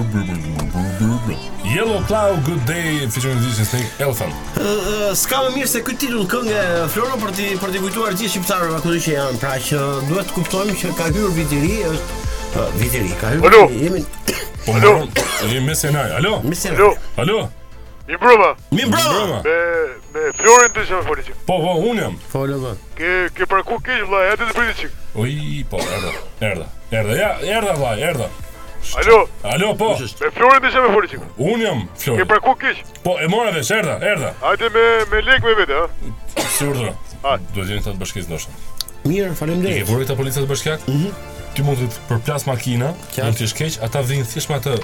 Speaker 8: maksimum. Yellow Claw, Good Day, featuring DJ Snake, Elephant.
Speaker 6: Ë, ë, S'ka më mirë se ky titull këngë e Floro për ti për ti kujtuar gjithë shqiptarëve akudo që janë, pra që duhet të kuptojmë që ka hyrë viti i ri, është ë, viti i ri, ka hyrë.
Speaker 8: Alo?
Speaker 6: Jemi
Speaker 8: Po, Alo. Jemi me scenar. Alo. Me
Speaker 6: scenar.
Speaker 8: Alo. Alo.
Speaker 9: Mi mbrëma
Speaker 8: Mi mbrëma.
Speaker 9: Jo, Me, me Florin të që me foli që
Speaker 8: Po, po, unë jam.
Speaker 6: Folo po.
Speaker 9: Ke, ke parku keq vla, ja të të priti që
Speaker 8: Oj, po, erdha. Erdha. Erdha. Ja, erdha vllai, erdha.
Speaker 9: Alo
Speaker 8: Alo, po.
Speaker 9: Me Florin të që me foli që
Speaker 8: Unë jam Flori.
Speaker 9: Ke parku keq
Speaker 8: Po, e mora vesh, erdha, erdha.
Speaker 9: Hajde me, me lek me vete, ha
Speaker 8: Si urdhëro.
Speaker 9: Hajde.
Speaker 8: Do të jeni të bashkisë ndoshta.
Speaker 6: Mirë,
Speaker 8: E ke
Speaker 6: faleminderit.
Speaker 8: vurë këta policët bashkiak? Mhm. Ti mund të të përplas makina, mund të jesh keq, ata vinin thjesht me atë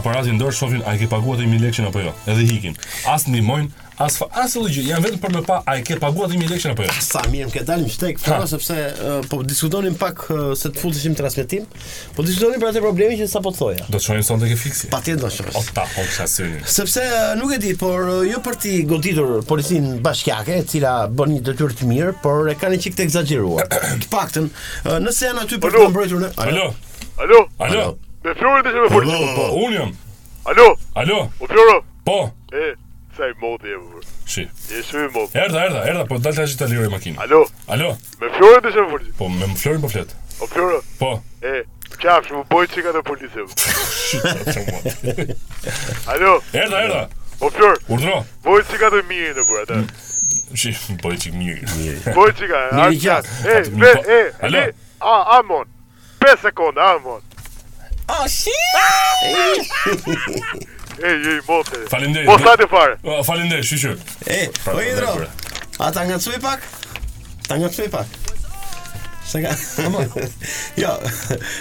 Speaker 8: aparatin dorë, shohin a i ke paguar atë 1000 lekën apo jo. Edhe hikin. As ndihmojnë, as fa, as asnjë gjë. Janë vetëm për me pa a i ke paguar atë 1000 lekën apo jo.
Speaker 6: Sa mirë më ke dalë një shtek, Floro, sepse ë, po diskutonim pak ë, se të futeshim në transmetim, po diskutonim për atë problemin që sapo thoja.
Speaker 8: Do të shohim sonte ke fiksi.
Speaker 6: Patjetër do shohim.
Speaker 8: O ta po, hop shasynin.
Speaker 6: Sepse e, nuk e di, por e, jo për ti goditur policinë bashkiake, e cila bën një detyrë të mirë, por e kanë një çik të egzageruar. të paktën, e, nëse janë aty për të mbrojtur në
Speaker 8: Alo.
Speaker 9: Alo
Speaker 8: Alo.
Speaker 9: Me Florin të që me foli që
Speaker 8: Po, unë jam.
Speaker 9: Alo
Speaker 8: Alo.
Speaker 9: O Floro
Speaker 8: Po.
Speaker 9: E, sa i modhi e vërë
Speaker 8: Shi.
Speaker 9: Je shumë i modhi
Speaker 8: Erdha, erdha, erdha, po dal tash ta liroj makinën.
Speaker 9: Alo
Speaker 8: Alo.
Speaker 9: Me Florin të që me foli që
Speaker 8: Po, me më Florin po flet.
Speaker 9: O Floro
Speaker 8: Po.
Speaker 9: E, qafsh, më boj që ka të policë
Speaker 8: Shi, sa të mund.
Speaker 9: Alo
Speaker 8: Erdha, erdha.
Speaker 9: O Flor
Speaker 8: Urdhro.
Speaker 9: Boj që ka të mirë në bërë, ata
Speaker 8: Shi, po i çik mirë.
Speaker 9: Boj që ka
Speaker 6: Mirë
Speaker 9: arë
Speaker 6: i qafsh.
Speaker 9: qafsh. E, ve, e,
Speaker 8: Alo.
Speaker 9: e A, amon 5 sekonda, amon
Speaker 6: Oh, shi!
Speaker 9: E, je i motë
Speaker 8: Faleminderit.
Speaker 9: Po sa të fare
Speaker 8: Ah, Faleminderit, shi shi.
Speaker 6: E, po i dro, a ta nga pak? Ta nga pak? Se ka... jo,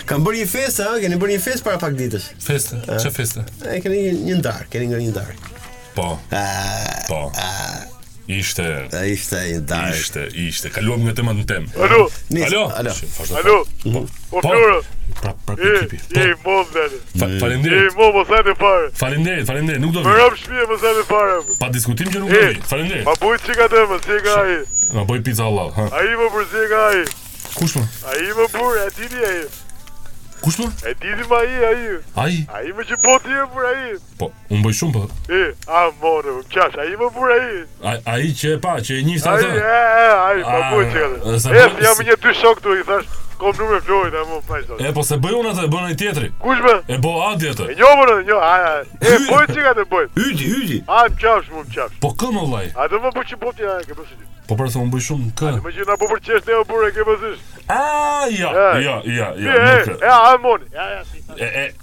Speaker 6: kam bërë një festë, ha? Keni bërë një festë para pak ditësh.
Speaker 8: Feste, çe feste?
Speaker 6: E, keni një, një ndarë, keni nga një ndarë.
Speaker 8: Po,
Speaker 6: Ah,
Speaker 8: po. Ishte,
Speaker 6: e, ishte një ndarë.
Speaker 8: ishte, ishte. Kaluam nga tema në temë.
Speaker 9: Alo,
Speaker 6: Nisë,
Speaker 8: Alo.
Speaker 6: alo. Mhm.
Speaker 8: Shi, vazhdo.
Speaker 9: alo O
Speaker 8: Po.
Speaker 9: Floro
Speaker 8: Prap, prap
Speaker 9: E,
Speaker 8: ekipi. Po.
Speaker 9: je i motë, dhe
Speaker 8: fa-
Speaker 9: Je i
Speaker 8: Faleminderit.
Speaker 9: motë, po sa të fare
Speaker 8: Faleminderit, faleminderit. Nuk do
Speaker 9: Më
Speaker 8: vi.
Speaker 9: rap shpje, po sa të fare amor.
Speaker 8: Pa diskutim që nuk do
Speaker 9: E,
Speaker 8: vi. Faleminderit.
Speaker 9: ma boj që ka të më, si e ka aji
Speaker 8: Na boj pizza Allah, ha.
Speaker 9: A i më për si e ka aji
Speaker 8: Kush më?
Speaker 9: A i më burë, e dini aji
Speaker 8: Kush më?
Speaker 9: E dini ma aji, aji
Speaker 8: Ai.
Speaker 9: A i më që boti e burë aji
Speaker 8: Po, un boj shumë po.
Speaker 9: E, amon, e më qash, a i më burë aji
Speaker 8: Ai, ai që e pa, që e njihte
Speaker 9: Ai,
Speaker 8: atë.
Speaker 9: e, e, ai, pa
Speaker 8: A,
Speaker 9: po që ka.
Speaker 8: e, sa
Speaker 9: E,
Speaker 8: bëj-
Speaker 9: jam një dy shok këtu i thash, kom numër Florit, a më pa
Speaker 8: E
Speaker 9: sot.
Speaker 8: po se bëj unë atë, e bën ai tjetri.
Speaker 9: Kush më?
Speaker 8: E bo Adi atë.
Speaker 9: E njomër, e njo, ai, ai. E, po që ka të bëj.
Speaker 6: Yti, yti.
Speaker 9: A, më qafsh, më qafsh.
Speaker 8: Po kë më vllai?
Speaker 9: A do më po që bopti, a, ke pësi.
Speaker 8: Po pra se un bëj shumë kë.
Speaker 9: Më që na po për qesh ne o burë, ke pësi.
Speaker 8: Ah, ja,
Speaker 9: E.
Speaker 8: ja, ja,
Speaker 9: E,
Speaker 8: ja.
Speaker 9: e,
Speaker 8: nuk kë.
Speaker 9: e, a, mon. Ja, ja, si.
Speaker 8: E, e,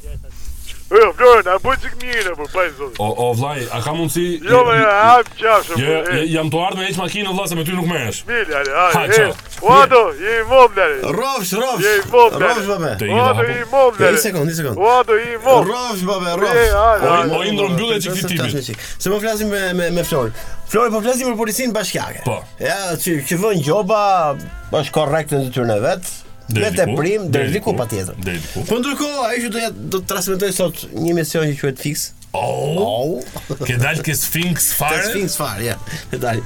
Speaker 9: E, Florin, a bëj çik mirë, po pa sot.
Speaker 8: o, o vllai, a ka mundsi?
Speaker 9: Jo, më, a, më qafsh, më.
Speaker 8: Jo, jo, jam të ardhur me hiç makinë vëlla se me ty nuk merresh.
Speaker 9: Mirë, ale,
Speaker 8: Ha,
Speaker 9: ale.
Speaker 8: qafsh.
Speaker 9: Uado, je i moblare.
Speaker 6: Rofsh, rofsh.
Speaker 9: Je i moblare.
Speaker 6: Rofsh, babe.
Speaker 8: Të i
Speaker 9: Uado, je i moblare.
Speaker 6: Një sekond, një sekond.
Speaker 9: Uado, je i moblare.
Speaker 6: Rofsh, babe,
Speaker 9: E,
Speaker 6: rofsh.
Speaker 9: ale, ale.
Speaker 8: O, Indro, mbyllje çik
Speaker 6: Pse
Speaker 8: fitimin.
Speaker 6: flasim çik? Se po flasim me me me Flor. Flor po flasim për policinë bashkiake.
Speaker 8: Po.
Speaker 6: Ja, që që vën gjoba, është korrekt në detyrën e vet.
Speaker 8: Deri
Speaker 6: Me
Speaker 8: diku,
Speaker 6: teprim
Speaker 8: deri
Speaker 6: deri diku
Speaker 8: diku,
Speaker 6: patjetër.
Speaker 8: deri diku.
Speaker 6: Po ndërkohë ai që do ja do të transmetoj sot një mision që quhet Fix.
Speaker 8: Oh,
Speaker 6: Au.
Speaker 8: ke dal ke Sphinx
Speaker 6: Te
Speaker 8: fare?
Speaker 6: Sphinx fare, ja. E dali.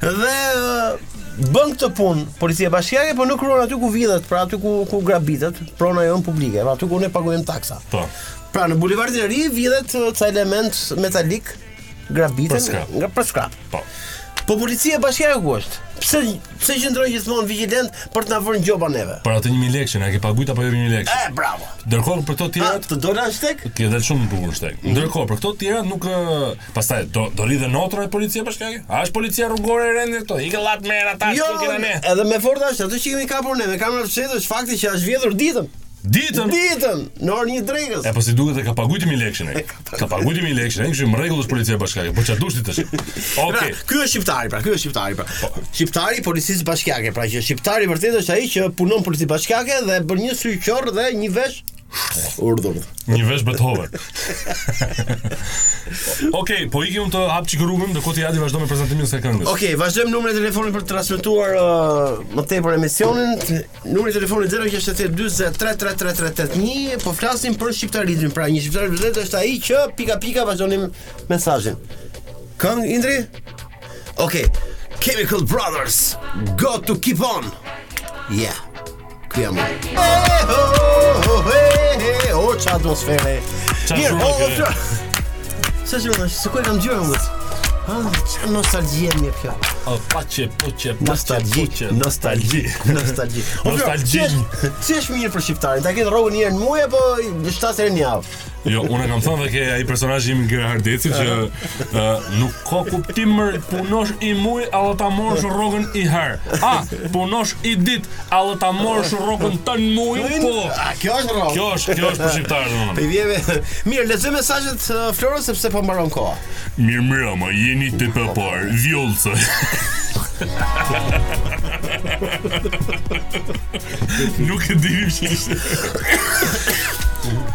Speaker 6: Dhe ë, bën këtë punë policia bashkiake, po nuk ruan aty ku vidhet, pra aty ku ku grabitet, prona jon publike, pra aty ku ne paguajmë taksa.
Speaker 8: Po.
Speaker 6: Pra në bulevardin e ri vidhet ë, ca element metalik grabiten
Speaker 8: Për skrap.
Speaker 6: nga për skrap.
Speaker 8: Po.
Speaker 6: Po policia bashkiake ku është? pse pse qëndroj gjithmonë vigjilent për të na vënë gjoba neve?
Speaker 8: Për atë 1000 lekë që na ke paguajt apo jo 1000 lekë.
Speaker 6: E bravo.
Speaker 8: Ndërkohë për këto tjera
Speaker 6: të dola shtek?
Speaker 8: Ti dal shumë bukur shtek. Ndërkohë për këto tjera nuk ë, pastaj do do rridhen notra e policia bashkiake. A është policia rrugore e rende këto? Ikë llat merr ata që nuk kena ne.
Speaker 6: Jo, edhe me forta është ato që kemi kapur ne, me kamera fshetë është fakti që është vjedhur ditën.
Speaker 8: Ditën?
Speaker 6: Ditën, në orën 1 drekës.
Speaker 8: E po si duket e ka paguajt 1000 lekë ne. Ka paguajt 1000 lekë ne, kështu në rregull është policia bashkiake. Po çfarë dushti tash? po, Okej. Po.
Speaker 6: Pra, ky është shqiptari, pra, ky është shqiptari, pra. Shqiptari i policisë bashkiake, pra që shqiptari vërtet është ai që punon policisë bashkiake dhe bën një syqor dhe një vesh urdhur.
Speaker 8: Një vesh Beethoven. Okej, po iki unë të hap çik rrugën, ndërkohë ti Adi vazhdo me prezantimin e këngës.
Speaker 6: Okej, vazhdojmë numrin e telefonit për të transmetuar uh, më tepër emisionin. Numri i telefonit 0692033331, po flasim për shqiptarizmin. Pra, një shqiptar vërtet është ai që pika pika vazhdonim mesazhin. Këng Indri? Okej. Chemical Brothers, got to keep on. Yeah. Ky jam unë. E, ho, ho, he, he, O, që atmosfere
Speaker 8: Qa
Speaker 6: Mirë, o,
Speaker 8: zhurmë ke?
Speaker 6: o, Sa që më nështë, se ku e kam gjyrë më Ah, që nostalgjie më jep kjo
Speaker 8: O, po paçe, poçe,
Speaker 6: Nostalgji,
Speaker 8: po nostalgji,
Speaker 6: nostalgji. Po O, Flor,
Speaker 8: Nostalgji.
Speaker 6: si është- Si është mirë për shqiptarin? Ta ketë rrogën një herë në muaj apo 7 herë në javë?
Speaker 8: Jo, unë e kam thënë dhe ke ai personazh im Ger Hardeci që ë, nuk ka kuptim mër punosh i muj apo ta morësh rrogën i har. A, punosh i dit apo ta morësh rrogën tën muj? Po.
Speaker 6: A, kjo është rrogë.
Speaker 8: Kjo është, kjo është për shqiptarët domethënë.
Speaker 6: Pe vjeve. Mirë, lexoj mesazhet uh, Florës sepse po mbaron koha.
Speaker 8: Mirë mërëma, jeni të papar, vjollëse. Nuk e dirim që ishte.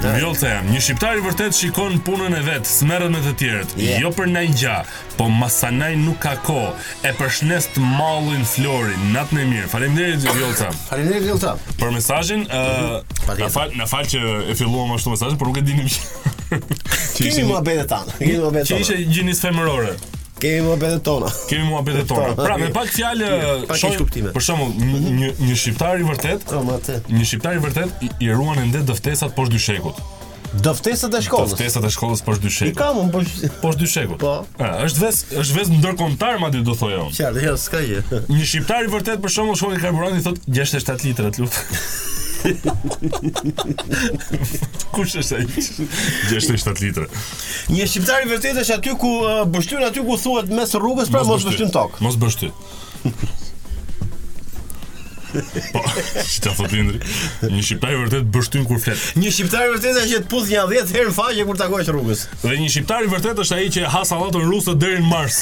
Speaker 8: Vjollëse jam, një shqiptari vërtet shikon punën e vetë, smerën me të tjerët.
Speaker 1: Yeah.
Speaker 8: Jo për naj gja, po masanaj nuk ka ko, e për shnes të mallin florin, natën e mirë. Faleminderit Vjollëse.
Speaker 6: Faleminderit Vjollëse.
Speaker 8: Për mesazhin, ë na fal, na fal që e filluam ashtu mesazhin, por nuk e dinim që që
Speaker 6: Kemi
Speaker 8: ishim-
Speaker 6: muhabetet tona. Kemi muhabetet
Speaker 8: Që
Speaker 6: tona.
Speaker 8: ishte gjinis femërore.
Speaker 6: Kemi muhabetet tona.
Speaker 8: Kemi muhabetet tona. Pra, me pak fjalë
Speaker 6: Pak
Speaker 8: shohim-
Speaker 6: kuptime. Mhm.
Speaker 8: Për shembull, një- një një shqiptar i vërtet, një shqiptar i vërtet i, i ruan ende dëftesat poshtë dyshekut.
Speaker 6: Dëftesat e shkollës.
Speaker 8: Dëftesat e shkollës poshtë
Speaker 6: I
Speaker 8: dyshekut.
Speaker 6: kam unë poshtë
Speaker 8: poshtë dyshekut.
Speaker 6: Po.
Speaker 8: Ë, është ves, është ves ndërkombëtar madje do thoja unë.
Speaker 6: Qartë, jo, s'ka gjë.
Speaker 8: Një shqiptar i vërtet për shembull shkon ke karburant i thot 67 litra të lut. Kush është ai? 67 litra.
Speaker 6: Një shqiptar i vërtet është aty ku uh, bështyn aty ku thuhet mes rrugës, pra mos
Speaker 8: bësh ty.
Speaker 6: bështyn tokë.
Speaker 8: Mos bësh ty. Po, si ta thot Indri, një shqiptar i vërtet bështyn kur flet.
Speaker 6: Një shqiptar i vërtet është që të puth një 10 herë në faqe kur takohesh rrugës.
Speaker 8: Dhe një shqiptar i vërtet është ai që ha sallatën ruse deri në Mars.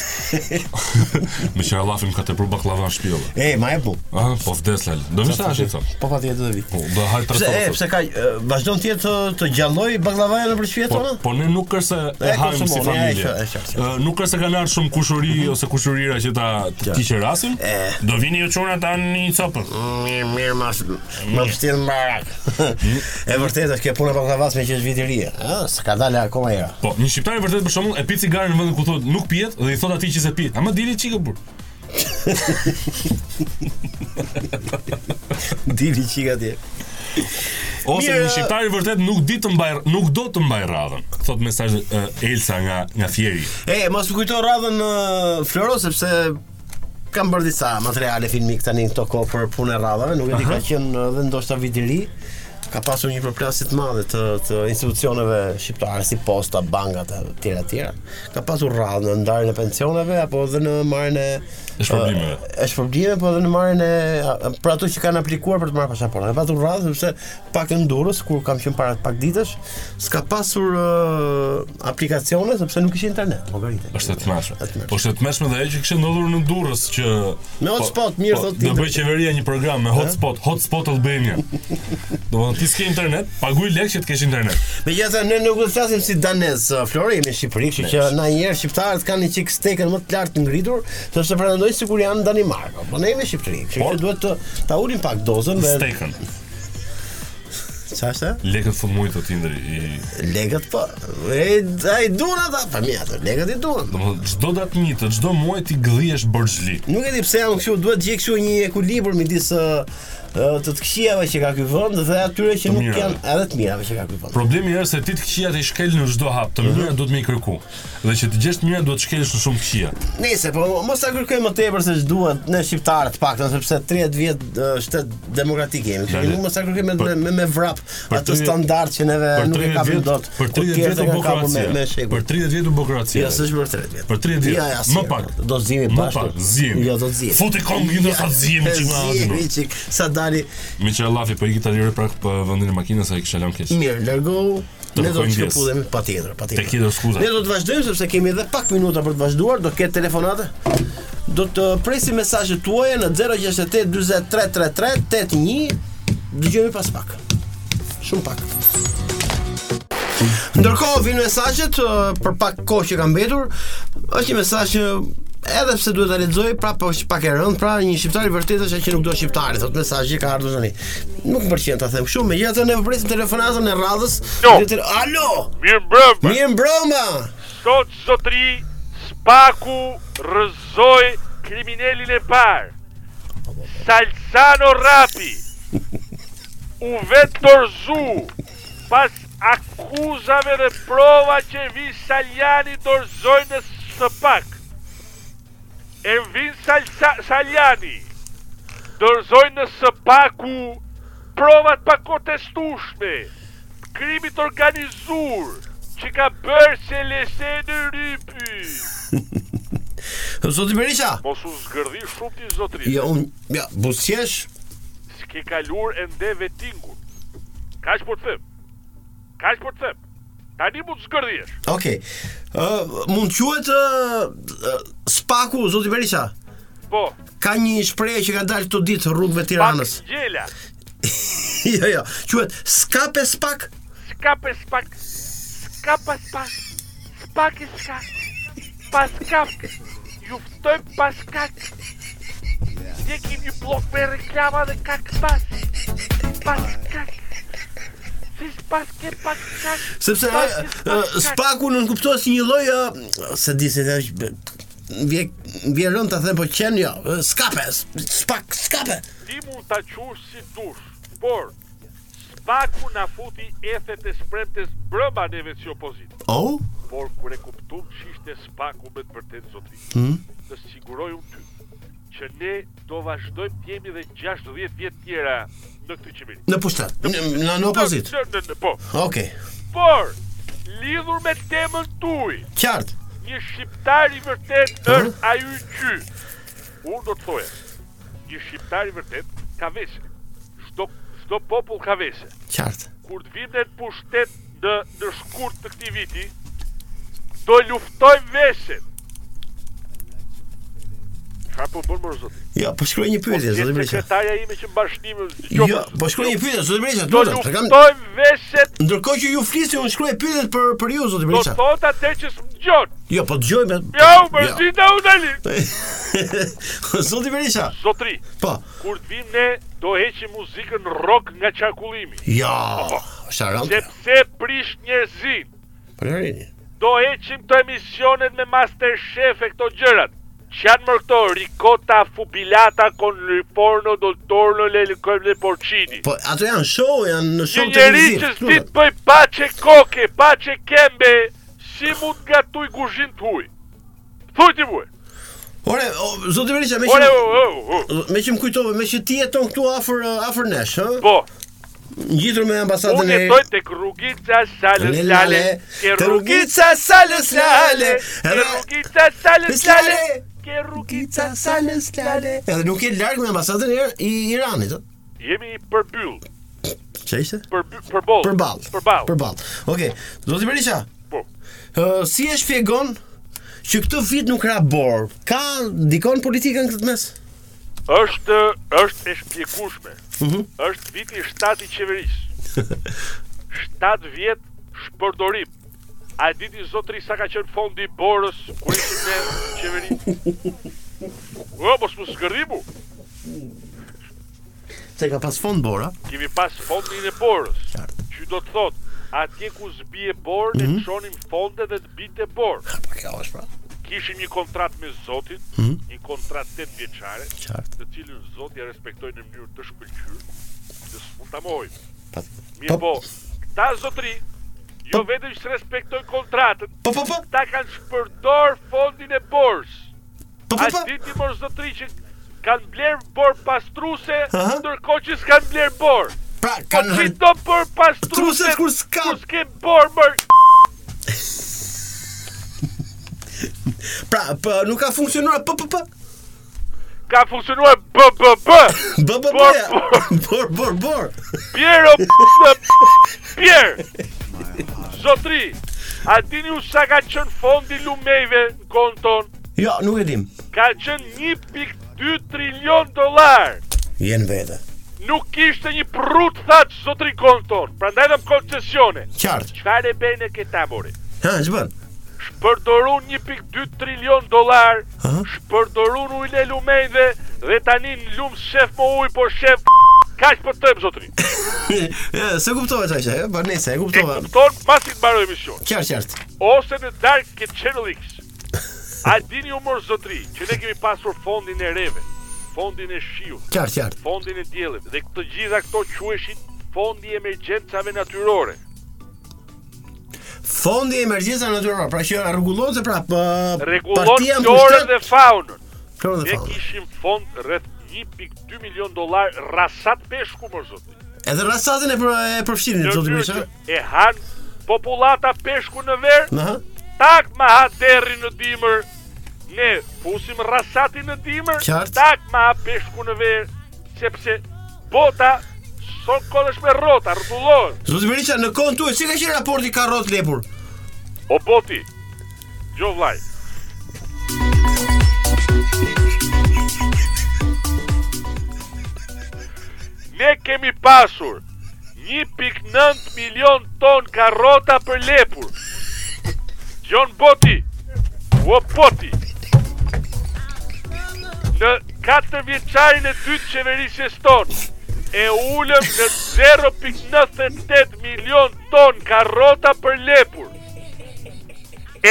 Speaker 8: Me që Allahim ka tepru baklava në shtëpi. olla.
Speaker 6: E, ma e bu.
Speaker 8: Ah, po vdes lal. Do më tash i thon.
Speaker 6: Po patjetër do vi.
Speaker 8: Po, do haj tre
Speaker 6: Pse e,
Speaker 8: sosë.
Speaker 6: pse ka e, vazhdon të jetë të- të gjalloj baklavaja nëpër shtëpinë
Speaker 8: Po,
Speaker 6: tona?
Speaker 8: po ne nuk është se e
Speaker 6: E,
Speaker 8: hajmë si
Speaker 6: konsumoni, e,
Speaker 8: familje.
Speaker 6: e, e, qartë,
Speaker 8: Ë, Nuk është se kanë ardhur shumë kushuri ose kushurira që ta të kiqë rasin. Do vini ju çuna ta në një copë.
Speaker 6: Mirë, mirë, ma Më vështirë në barak. e vërtetë është kjo puna baklavas me që është vit i ri. Ëh, Ah, s'ka dalë akoma jo. era.
Speaker 8: Po, një shqiptar i vërtet për shembull e pi cigaren në vendin ku thotë nuk pihet dhe i thot atij që se pi. A më dili çikë burr.
Speaker 6: Dili çik atje.
Speaker 8: Ose
Speaker 6: Mirë,
Speaker 8: një shqiptar i vërtet nuk di të mbaj nuk do të mbaj radhën. Thot mesazh e, Elsa nga nga Fieri.
Speaker 6: E, mos më kujto radhën uh, Floro sepse kam bërë disa materiale filmik tani në këto kohë për punë e radhave, nuk e di ka
Speaker 8: Aha.
Speaker 6: qenë edhe ndoshta vit i ri. Ka pasur një përplasje të madhe të, të institucioneve shqiptare si posta, bankat e tjera tjera. Ka pasur radhë në ndarjen e pensioneve apo edhe në marrjen e
Speaker 8: E
Speaker 6: Po,
Speaker 8: shpërblimeve.
Speaker 6: e shpërblimeve, po edhe në marrjen e a- për ato që kanë aplikuar për të marrë pasaportën. Ka pasur radhë sepse pak në Durrës kur kam qenë para pak ditësh, s'ka pasur ë, aplikacione sepse nuk kishte internet, llogaritë.
Speaker 8: Është e tmeshme. Po është e tmeshme dhe ajo që kishte ndodhur në Durrës që po,
Speaker 6: Me hotspot, mirë, thot
Speaker 8: Do
Speaker 6: Tinder.
Speaker 8: bëj qeveria një program me hotspot, hotspot Albania. Domethënë ti s'ke internet, paguaj lekë që të kesh internet.
Speaker 6: Megjithatë ne nuk do të flasim si danez, uh, Flori, jemi në Shqipëri, kështu që na një herë shqiptarët kanë një çik stekën më të lartë të ngritur, sepse pretendojnë sikur janë në Danimark. Po ne jemi në Shqipëri, kështu që duhet të ta ulim pak dozën dhe
Speaker 8: Stekën.
Speaker 6: Çfarë është?
Speaker 8: Lekët fëmijë të tindri i
Speaker 6: Lekët po. E ai duan ata, familja, ato, lekët i duan.
Speaker 8: Domethënë çdo datëmitë, çdo muaj ti gdhiesh borxhli.
Speaker 6: Nuk e di pse janë kështu, duhet gjej kështu një ekuilibër midis uh, ë, të të këqijave që ka ky vend dhe atyre që
Speaker 8: Të
Speaker 6: nuk
Speaker 8: mirave. Pra-
Speaker 6: janë edhe të mirave që ka ky vend.
Speaker 8: Problemi është se ti të këqijat i shkel në çdo hap, të
Speaker 6: Mhm.
Speaker 8: mira duhet me i kërku. Dhe që të gjesh të mira duhet të shkelësh në shumë këqija.
Speaker 6: Nëse po mos ta kërkojmë më tepër se ç'duhet ne shqiptarët të paktën sepse 30 vjet ë, shtet demokratik jemi. Kështu që
Speaker 8: Dale.
Speaker 6: nuk mos ta kërkojmë me me, me vrap
Speaker 8: Për
Speaker 6: atë
Speaker 8: 30
Speaker 6: standard që neve
Speaker 8: Për
Speaker 6: nuk e
Speaker 8: 30
Speaker 6: kapim
Speaker 8: vjet,
Speaker 6: dot.
Speaker 8: për 30 vjet u bë
Speaker 6: me, me
Speaker 8: Kroacia.
Speaker 6: shekun.
Speaker 8: Për 30 vjet u bë Kroacia.
Speaker 6: Jo, s'është për 30 vjet.
Speaker 8: Për 30 vjet.
Speaker 6: Ja, ja,
Speaker 8: Më
Speaker 6: si,
Speaker 8: pak.
Speaker 6: Do të zihemi
Speaker 8: Më
Speaker 6: bashkë.
Speaker 8: pak, zihemi.
Speaker 6: Jo, do të zihemi.
Speaker 8: Futi këmbë, gjithë sa zihemi, çik më ardhmë.
Speaker 6: Zihemi, çik, sa dali
Speaker 8: Me që lafi po i kita lirë prak për vendin e makinës sa i kisha lënë keq.
Speaker 6: mirë, largohu. Ne
Speaker 8: Të
Speaker 6: do
Speaker 8: kërkojmë
Speaker 6: të
Speaker 8: ndjes.
Speaker 6: shkëputhemi patjetër, patjetër.
Speaker 8: Tek tjetër skuza.
Speaker 6: Ne do të vazhdojmë sepse kemi edhe pak minuta për të vazhduar, do ketë telefonate. Do të presim mesazhet tuaja në 068 4333 81 dëgjojmë pas pak. Shumë pak. Ndërkohë vinë mesazhet ë, për pak kohë që ka mbetur. Është një mesazh që edhe pse duhet ta lexoj, prapë është pak e rëndë, pra një shqiptar i vërtetë është ai që nuk do shqiptari, thotë mesazhi që ka ardhur tani. Nuk më pëlqen ta them kështu, megjithatë ne presim telefonatën e radhës.
Speaker 9: Jo. Pra.
Speaker 6: Dhe të- Alo.
Speaker 9: Mirë mbrëmë.
Speaker 6: Mirë mbrëma.
Speaker 9: Sot zotri Spaku rëzoj kriminelin e parë. Salsano Rapi u vetë dorzu pas akuzave dhe prova që vi Saljani dorzoj në së pak. E vin Salsa, Saljani dorzoj në së paku provat pa kontestushme krimit organizur që ka bërë se lese në rypy.
Speaker 6: Zoti Berisha.
Speaker 9: Mos u zgërdhi shumë ti zotri.
Speaker 6: Jo, un, ja, busqesh.
Speaker 9: s'ke kalur e nde vetingun. Kaç po të them. Kaç po të them. Tani mund të zgërdhjesh.
Speaker 6: Okej. Ë mund quhet ë, ë, Spaku Zoti Berisha.
Speaker 9: Po.
Speaker 6: Ka një shprehje që ka dalë këto ditë rrugëve të Tiranës.
Speaker 9: Gjela.
Speaker 6: jo, jo. Quhet Skape Spak.
Speaker 9: Ska pe spak. Ska pas pas. Spak e ska. Pas kap. Ju ftoj pas kak. Ndjekim një blok me reklama dhe kak pas. Pas kak. Si pas ke pas kak.
Speaker 6: Sepse
Speaker 9: pas
Speaker 6: ë,
Speaker 9: ke
Speaker 6: ë, Spaku nuk kuptohet si një lloj ë, se di se tash bë- vje vje rënd ta them po qen jo. Ë, Skape, s- Spak, Skape.
Speaker 9: Ti mund ta qush si dush, por Spaku na futi ethet e spremtes brëmba neve si opozit.
Speaker 6: Oh?
Speaker 9: Por kur e kuptum që ishte Spaku me të vërtet zotri,
Speaker 6: Mhm.
Speaker 9: të siguroj unë ty që ne do vazhdojmë të jemi dhe 60 vjet tjera në këtë qeveri.
Speaker 6: Në pushtet, në- në- në opozit.
Speaker 9: Në- në- në- Po,
Speaker 6: Okej.
Speaker 9: por lidhur me temën tuaj,
Speaker 6: Qartë.
Speaker 9: një shqiptar i vërtet është ai që unë do të thoja. Një shqiptar i vërtet ka vese. Çdo çdo popull ka vese.
Speaker 6: Qartë.
Speaker 9: Kur të vim në pushtet në në shkurt të këtij viti, do luftojmë vesen. Çfarë po bën më zot?
Speaker 6: Jo, po shkruaj një pyetje Zoti Berisha.
Speaker 9: Sekretaria ime që bashkënim
Speaker 6: Jo, po shkruaj një pyetje Zoti Berisha,
Speaker 9: Do
Speaker 6: lutem. e kam-
Speaker 9: luftojmë vesen.
Speaker 6: Ndërkohë që ju flisni, unë shkruaj pyetjet për për ju Zoti
Speaker 9: Do
Speaker 6: Berisha.
Speaker 9: thot atë që s'mgjon.
Speaker 6: Jo, po dëgjoj me.
Speaker 9: Ja, u mërzita u dali.
Speaker 6: Zoti Berisha.
Speaker 9: Zotri.
Speaker 6: Po.
Speaker 9: Kur të vim ne, do heqim muzikën rock nga qakullimi.
Speaker 6: Jo. Sharon.
Speaker 9: Sepse prish njerëzin.
Speaker 6: Palerini.
Speaker 9: Do heqim të emisionet me Masterchef e këto gjërat. Që janë mërë këto, ricota, fubilata, con il porno, dol torno, le lëkojmë dhe porcini.
Speaker 6: Po ato janë show, janë në
Speaker 9: Një
Speaker 6: show
Speaker 9: njeri
Speaker 6: televiziv.
Speaker 9: që s'di të bëj pache koke, pache kembe, si mund nga tuj guzhin të huj. Thuj ti muaj.
Speaker 6: Ore, o, zoti Berisha, me
Speaker 9: Ore, oh,
Speaker 6: që
Speaker 9: o,
Speaker 6: me që më kujtove, me që ti jeton këtu afër uh, afër nesh, ë?
Speaker 9: Po.
Speaker 6: Ngjitur me ambasadën
Speaker 9: Unë
Speaker 6: e
Speaker 9: jetoj tek rrugica salës
Speaker 6: Lale,
Speaker 9: lale, ke
Speaker 6: te
Speaker 9: rrugica salës lale, ke
Speaker 6: edhe-
Speaker 9: rrugica salës lale,
Speaker 6: Lale.
Speaker 9: ke rrugica salës lale.
Speaker 6: Edhe nuk je larg me ambasadën e i Iranit, ë?
Speaker 9: Jemi përbyll,
Speaker 6: Çe ishte?
Speaker 9: për përball.
Speaker 6: Përball.
Speaker 9: Përball.
Speaker 6: Përball. Okej, zoti Berisha.
Speaker 9: Po.
Speaker 6: Ë, si e shpjegon që këtë vit nuk ra bor? Ka ndikon politikën këtë mes?
Speaker 9: Është është e shpjegueshme.
Speaker 6: Mhm.
Speaker 9: Është viti 7 i qeverisë. 7 vjet shpërdorim. A e diti zotri sa ka qenë fondi i borës kur ishim ne në qeveri? O, mos më zgërdhi mu.
Speaker 6: Se ka pas fond bora.
Speaker 9: Kemi pas fondin e borës. Që do të thotë, atje ku zbije borë, ne
Speaker 6: Mhm.
Speaker 9: të shonim fonde dhe të binte borë.
Speaker 6: Kjo është pra.
Speaker 9: Kishim një kontratë me Zotin,
Speaker 6: Mhm.
Speaker 9: një kontratë 8 vjeçare,
Speaker 6: Qartë.
Speaker 9: të cilën Zoti e respektoi në mënyrë të shkëlqyer, që s'mund ta mohojmë.
Speaker 6: Pa-
Speaker 9: Mirë po, këta zotëri jo vetëm që respektojnë kontratën,
Speaker 6: po po po,
Speaker 9: ta kanë shpërdor fondin e borës.
Speaker 6: Po po po.
Speaker 9: A ditë mor zotëri që kanë bler bor pastruse,
Speaker 6: Aha.
Speaker 9: ndërkohë që s'kan bler bor.
Speaker 6: Pra, kanë
Speaker 9: po,
Speaker 6: hër-
Speaker 9: ti do bor pastruse
Speaker 6: Pastruse kur s'ka.
Speaker 9: Kur s'ke bor, mër.
Speaker 6: pra, për, nuk ka funksionuar po po po.
Speaker 9: Ka funksionuar BBB.
Speaker 6: BBB.
Speaker 9: Bor,
Speaker 6: Bor bor bor.
Speaker 9: Piero në Pier Zotri A dini u sa ka qënë fondi lumejve në konë tonë
Speaker 6: Jo, nuk e dim.
Speaker 9: Ka qënë 1.2 trilion dolar
Speaker 6: Jen vete.
Speaker 9: Nuk ishte një prut thatë zotri konë tonë Pra ndajtëm koncesione
Speaker 6: Qartë.
Speaker 9: Qfar e bejnë e këta more
Speaker 6: Ha, ç'bën?
Speaker 9: Shpërdorun 1.2 trilion dolar
Speaker 6: Aha.
Speaker 9: Shpërdorun ujle lumejve Dhe tani në lumë shef më uj Po shef Kaq për tëmë zotri
Speaker 6: E, se kuptova çaj çaj, po nëse e
Speaker 9: E
Speaker 6: kuptova.
Speaker 9: kupton masi të mbaroj emision
Speaker 6: Qartë, qartë.
Speaker 9: ose në Dark ke Channel X. A dini u mor zotri që ne kemi pasur fondin e reve, fondin e shiut,
Speaker 6: Qartë, qartë.
Speaker 9: fondin e diellit dhe këtë gjitha këto quheshin fondi i emergjencave natyrore.
Speaker 6: Fondi i emergjencave natyrore, pra që rregullon se pra pë-
Speaker 9: Rregullon
Speaker 6: partia në
Speaker 9: florën
Speaker 6: kushtet-
Speaker 9: dhe faunën.
Speaker 6: Florën dhe
Speaker 9: Ne
Speaker 6: faunën.
Speaker 9: kishim fond rreth 1.2 milion dollar rasat peshku mor zotri.
Speaker 6: Edhe rasatin e për e përfshirni zoti
Speaker 9: Në
Speaker 6: Misha.
Speaker 9: që E han popullata peshku në verë,
Speaker 6: Aha.
Speaker 9: tak ma ha deri në dimër, ne pusim rasati në dimër,
Speaker 6: Qartë.
Speaker 9: tak ma ha peshku në verë, sepse bota son kodesh me rota, rrëtullon.
Speaker 6: Zoti Berisha në kohën tuaj si ka qenë raporti karrot lepur?
Speaker 9: O Po, boti, gjo vlaj, ne kemi pasur 1.9 milion ton karota për lepur. Gjon Boti, o Boti, në 4 vjeqarin e dytë qeverisjes tonë, e ullëm në 0.98 milion ton karota për lepur.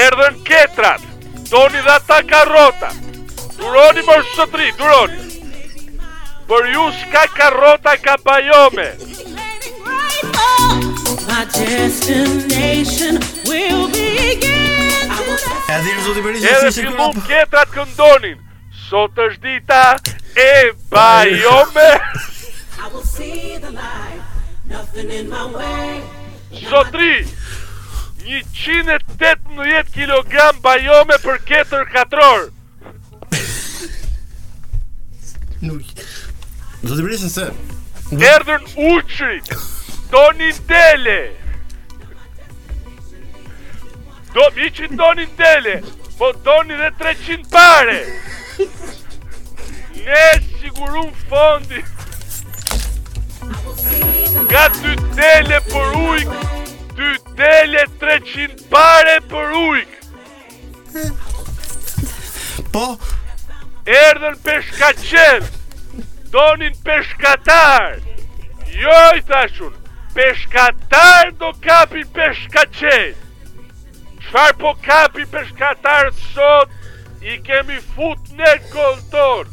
Speaker 9: Erdhen ketrat, doni dhe ata karota. Duroni më shtëtri, duroni. Për ju s'ka karota ka bajome.
Speaker 3: My destination will begin tonight.
Speaker 6: Edhe i zoti Berisha
Speaker 9: Edhe
Speaker 6: si ishte
Speaker 9: fillon
Speaker 6: kërra-
Speaker 9: ketrat këndonin. Sot është dita e bajome.
Speaker 3: I will see the light. Nothing in my way.
Speaker 9: Zotri, 118 kg bajome për ketër katror.
Speaker 6: Nuk. Zoti Berisha se
Speaker 9: Erdhën uqrit Donin dele Do mi që donin dele Po doni dhe 300 pare Ne sigurum fondi Nga 2 dele për ujk 2 dele 300 pare për ujk
Speaker 6: po
Speaker 9: Erdhën peshkaqel Donin peshkatar Jo i thashun Peshkatar do kapi peshkaqel Qfar po kapi peshkatar sot I kemi fut në kontor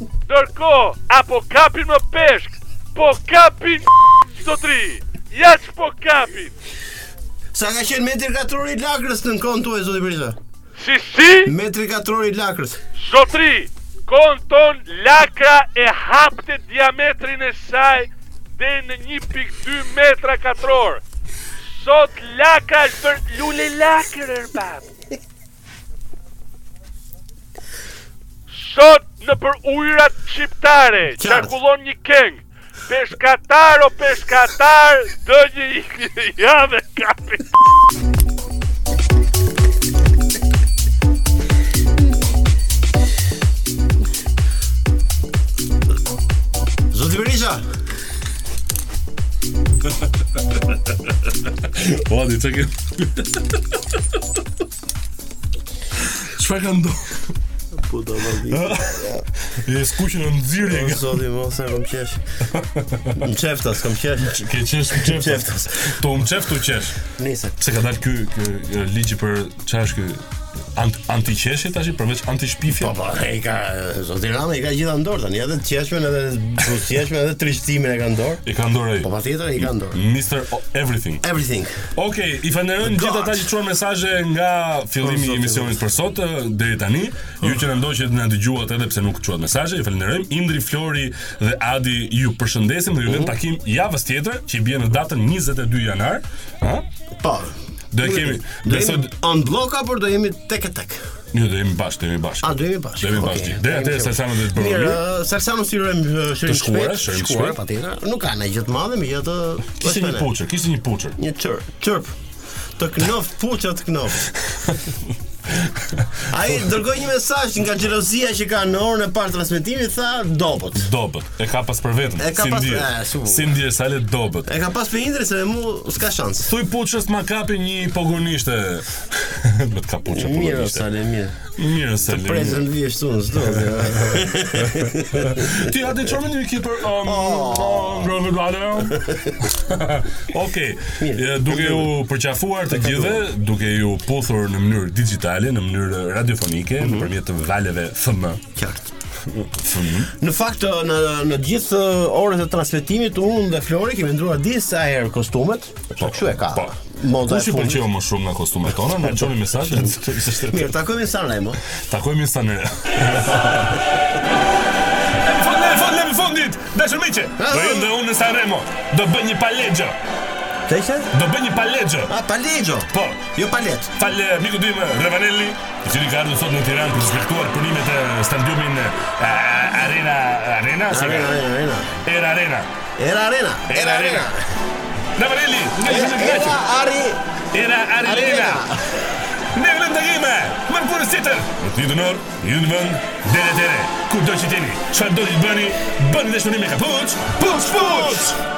Speaker 9: Ndërko Apo kapin më peshk Po kapin Sotri Ja që po kapin
Speaker 6: sa ka qenë metri katror i lakrës në kohën tuaj zoti Berisha?
Speaker 9: Si si
Speaker 6: Metri katror i lakrës.
Speaker 9: Zotri, konton lakra e hapte diametrin e saj dhe në 1.2 metra katror. Sot lakra është për lule lakër erbat. Sot në për ujrat shqiptare, qarkullon një keng. Peshkatar o peshkatar, dë një jave kapi.
Speaker 6: Zoti Berisha.
Speaker 8: Po, di çka. Çfarë ka ndo?
Speaker 6: Po do vazhdi.
Speaker 8: Je skuqën në nxirje.
Speaker 6: O zoti mos e kam qesh. Në çeftas kam qesh.
Speaker 8: Ke qesh në qeftas.
Speaker 6: Qeftas.
Speaker 8: Tu më qeftu qesh.
Speaker 6: Nice.
Speaker 8: Se ka dalë ky ky ky ligji për çfarë është ky Ant, antiqeshi tash përveç antishpifje.
Speaker 6: Po po, ai ka zoti Rama i ka gjithë në dorë tani, edhe të qeshmen edhe buzëqeshmen edhe trishtimin e ka në dorë.
Speaker 8: I ka në dorë ai.
Speaker 6: Po patjetër i ka në dorë.
Speaker 8: Mr. O- Everything.
Speaker 6: Everything.
Speaker 8: Okej, i falenderojmë gjithë ata që çuan mesazhe nga
Speaker 6: Po,
Speaker 8: fillimi i emisionit për sot eh, deri tani. Ju që na ndoqët na dëgjuat edhe pse nuk çuat mesazhe, ju falenderojmë. Indri, Flori dhe Adi ju përshëndesim dhe ju
Speaker 6: Mhm.
Speaker 8: vëmë takim javës tjetër që i bie në datën 22 janar, ha?
Speaker 6: Po.
Speaker 8: Do e kemi,
Speaker 6: do
Speaker 8: besoj
Speaker 6: jemi on block apo do jemi tek e tek?
Speaker 8: Jo, do jemi bashkë, do jemi bashkë.
Speaker 6: A Ah, do jemi bashkë.
Speaker 8: Do jemi
Speaker 6: Okej,
Speaker 8: bashkë.
Speaker 6: do
Speaker 8: Deri
Speaker 6: jemi
Speaker 8: atëherë
Speaker 6: bashkë.
Speaker 8: sa më do të
Speaker 6: Mirë,
Speaker 8: bëjmë.
Speaker 6: ë, Salsano si rrojm shërim
Speaker 8: Të shkuara,
Speaker 6: shpejt,
Speaker 8: shërim
Speaker 6: shkuara,
Speaker 8: shpejt.
Speaker 6: patjetër. Nuk ka ndonjë gjë të madhe, megjithatë
Speaker 8: Kishte një puçër, kishte një puçër.
Speaker 6: Një çër, çërp. Të knof puça të knof. Ai dërgoi një mesazh nga xhelozia që ka në orën e parë transmetimit, tha dobët.
Speaker 8: Dobët. E ka pas për vetëm.
Speaker 6: E ka
Speaker 8: si
Speaker 6: pas-
Speaker 8: ndier.
Speaker 6: e, su.
Speaker 8: Si ndier sa le dobët.
Speaker 6: E ka pas për Indri se me mu s'ka shans.
Speaker 8: Thuj puçës ma kapi një pogonishte. Do të ka puçë
Speaker 6: Mirë,
Speaker 8: pogonishte.
Speaker 6: sa le mirë.
Speaker 8: Mirë se
Speaker 6: Të
Speaker 8: le.
Speaker 6: prezën
Speaker 8: mirë.
Speaker 6: vijesh tu në çdo.
Speaker 8: Ti atë çormën një keeper um
Speaker 6: Oh.
Speaker 8: Robert Wada. Okej. e, Duke ju përqafuar të gjithëve, duke ju puthur në mënyrë digjitale, në mënyrë radiofonike,
Speaker 6: Mhm.
Speaker 8: nëpërmjet të valeve FM.
Speaker 6: Qartë.
Speaker 8: FM.
Speaker 6: Në fakt ë, në në gjithë ë, orët e transmetimit unë dhe Flori kemi ndruar disa herë kostumet. Kështu e ka.
Speaker 8: Po.
Speaker 6: Moda
Speaker 8: Kush
Speaker 6: e
Speaker 8: i
Speaker 6: fundit.
Speaker 8: pëlqeu më shumë nga kostumet tona? Na çoni mesazhe.
Speaker 6: Mirë, takojmë në Sanremo.
Speaker 8: Takojmë në Sanremo. Në fund në fundit, dashur miqe, do jem dhe unë në Sanremo. Do bëj një paleggio.
Speaker 6: Të ishe?
Speaker 8: Do bëj një paleggio.
Speaker 6: A, palegjo.
Speaker 8: Po.
Speaker 6: Jo palet.
Speaker 8: Fal eh, miku tim eh, Revanelli, i cili ka ardhur sot në Tiranë për të zhvilluar punimet e stadiumin eh, Arena Arena. si
Speaker 6: Arena,
Speaker 8: ka?
Speaker 6: arena, arena.
Speaker 8: Era Arena.
Speaker 6: Era arena.
Speaker 8: Era Arena. Revanelli, nga
Speaker 6: Era
Speaker 8: gjithë këtu.
Speaker 6: ari.
Speaker 8: Era Arena.
Speaker 6: Arena.
Speaker 8: Ne vëllëm të gjime, më në punës tjetër Në të një dënor, një në vënd, dere dere Kur do që tjeni, qëfar do që të bëni Bëni dhe shmërim e ka puç, puç, puç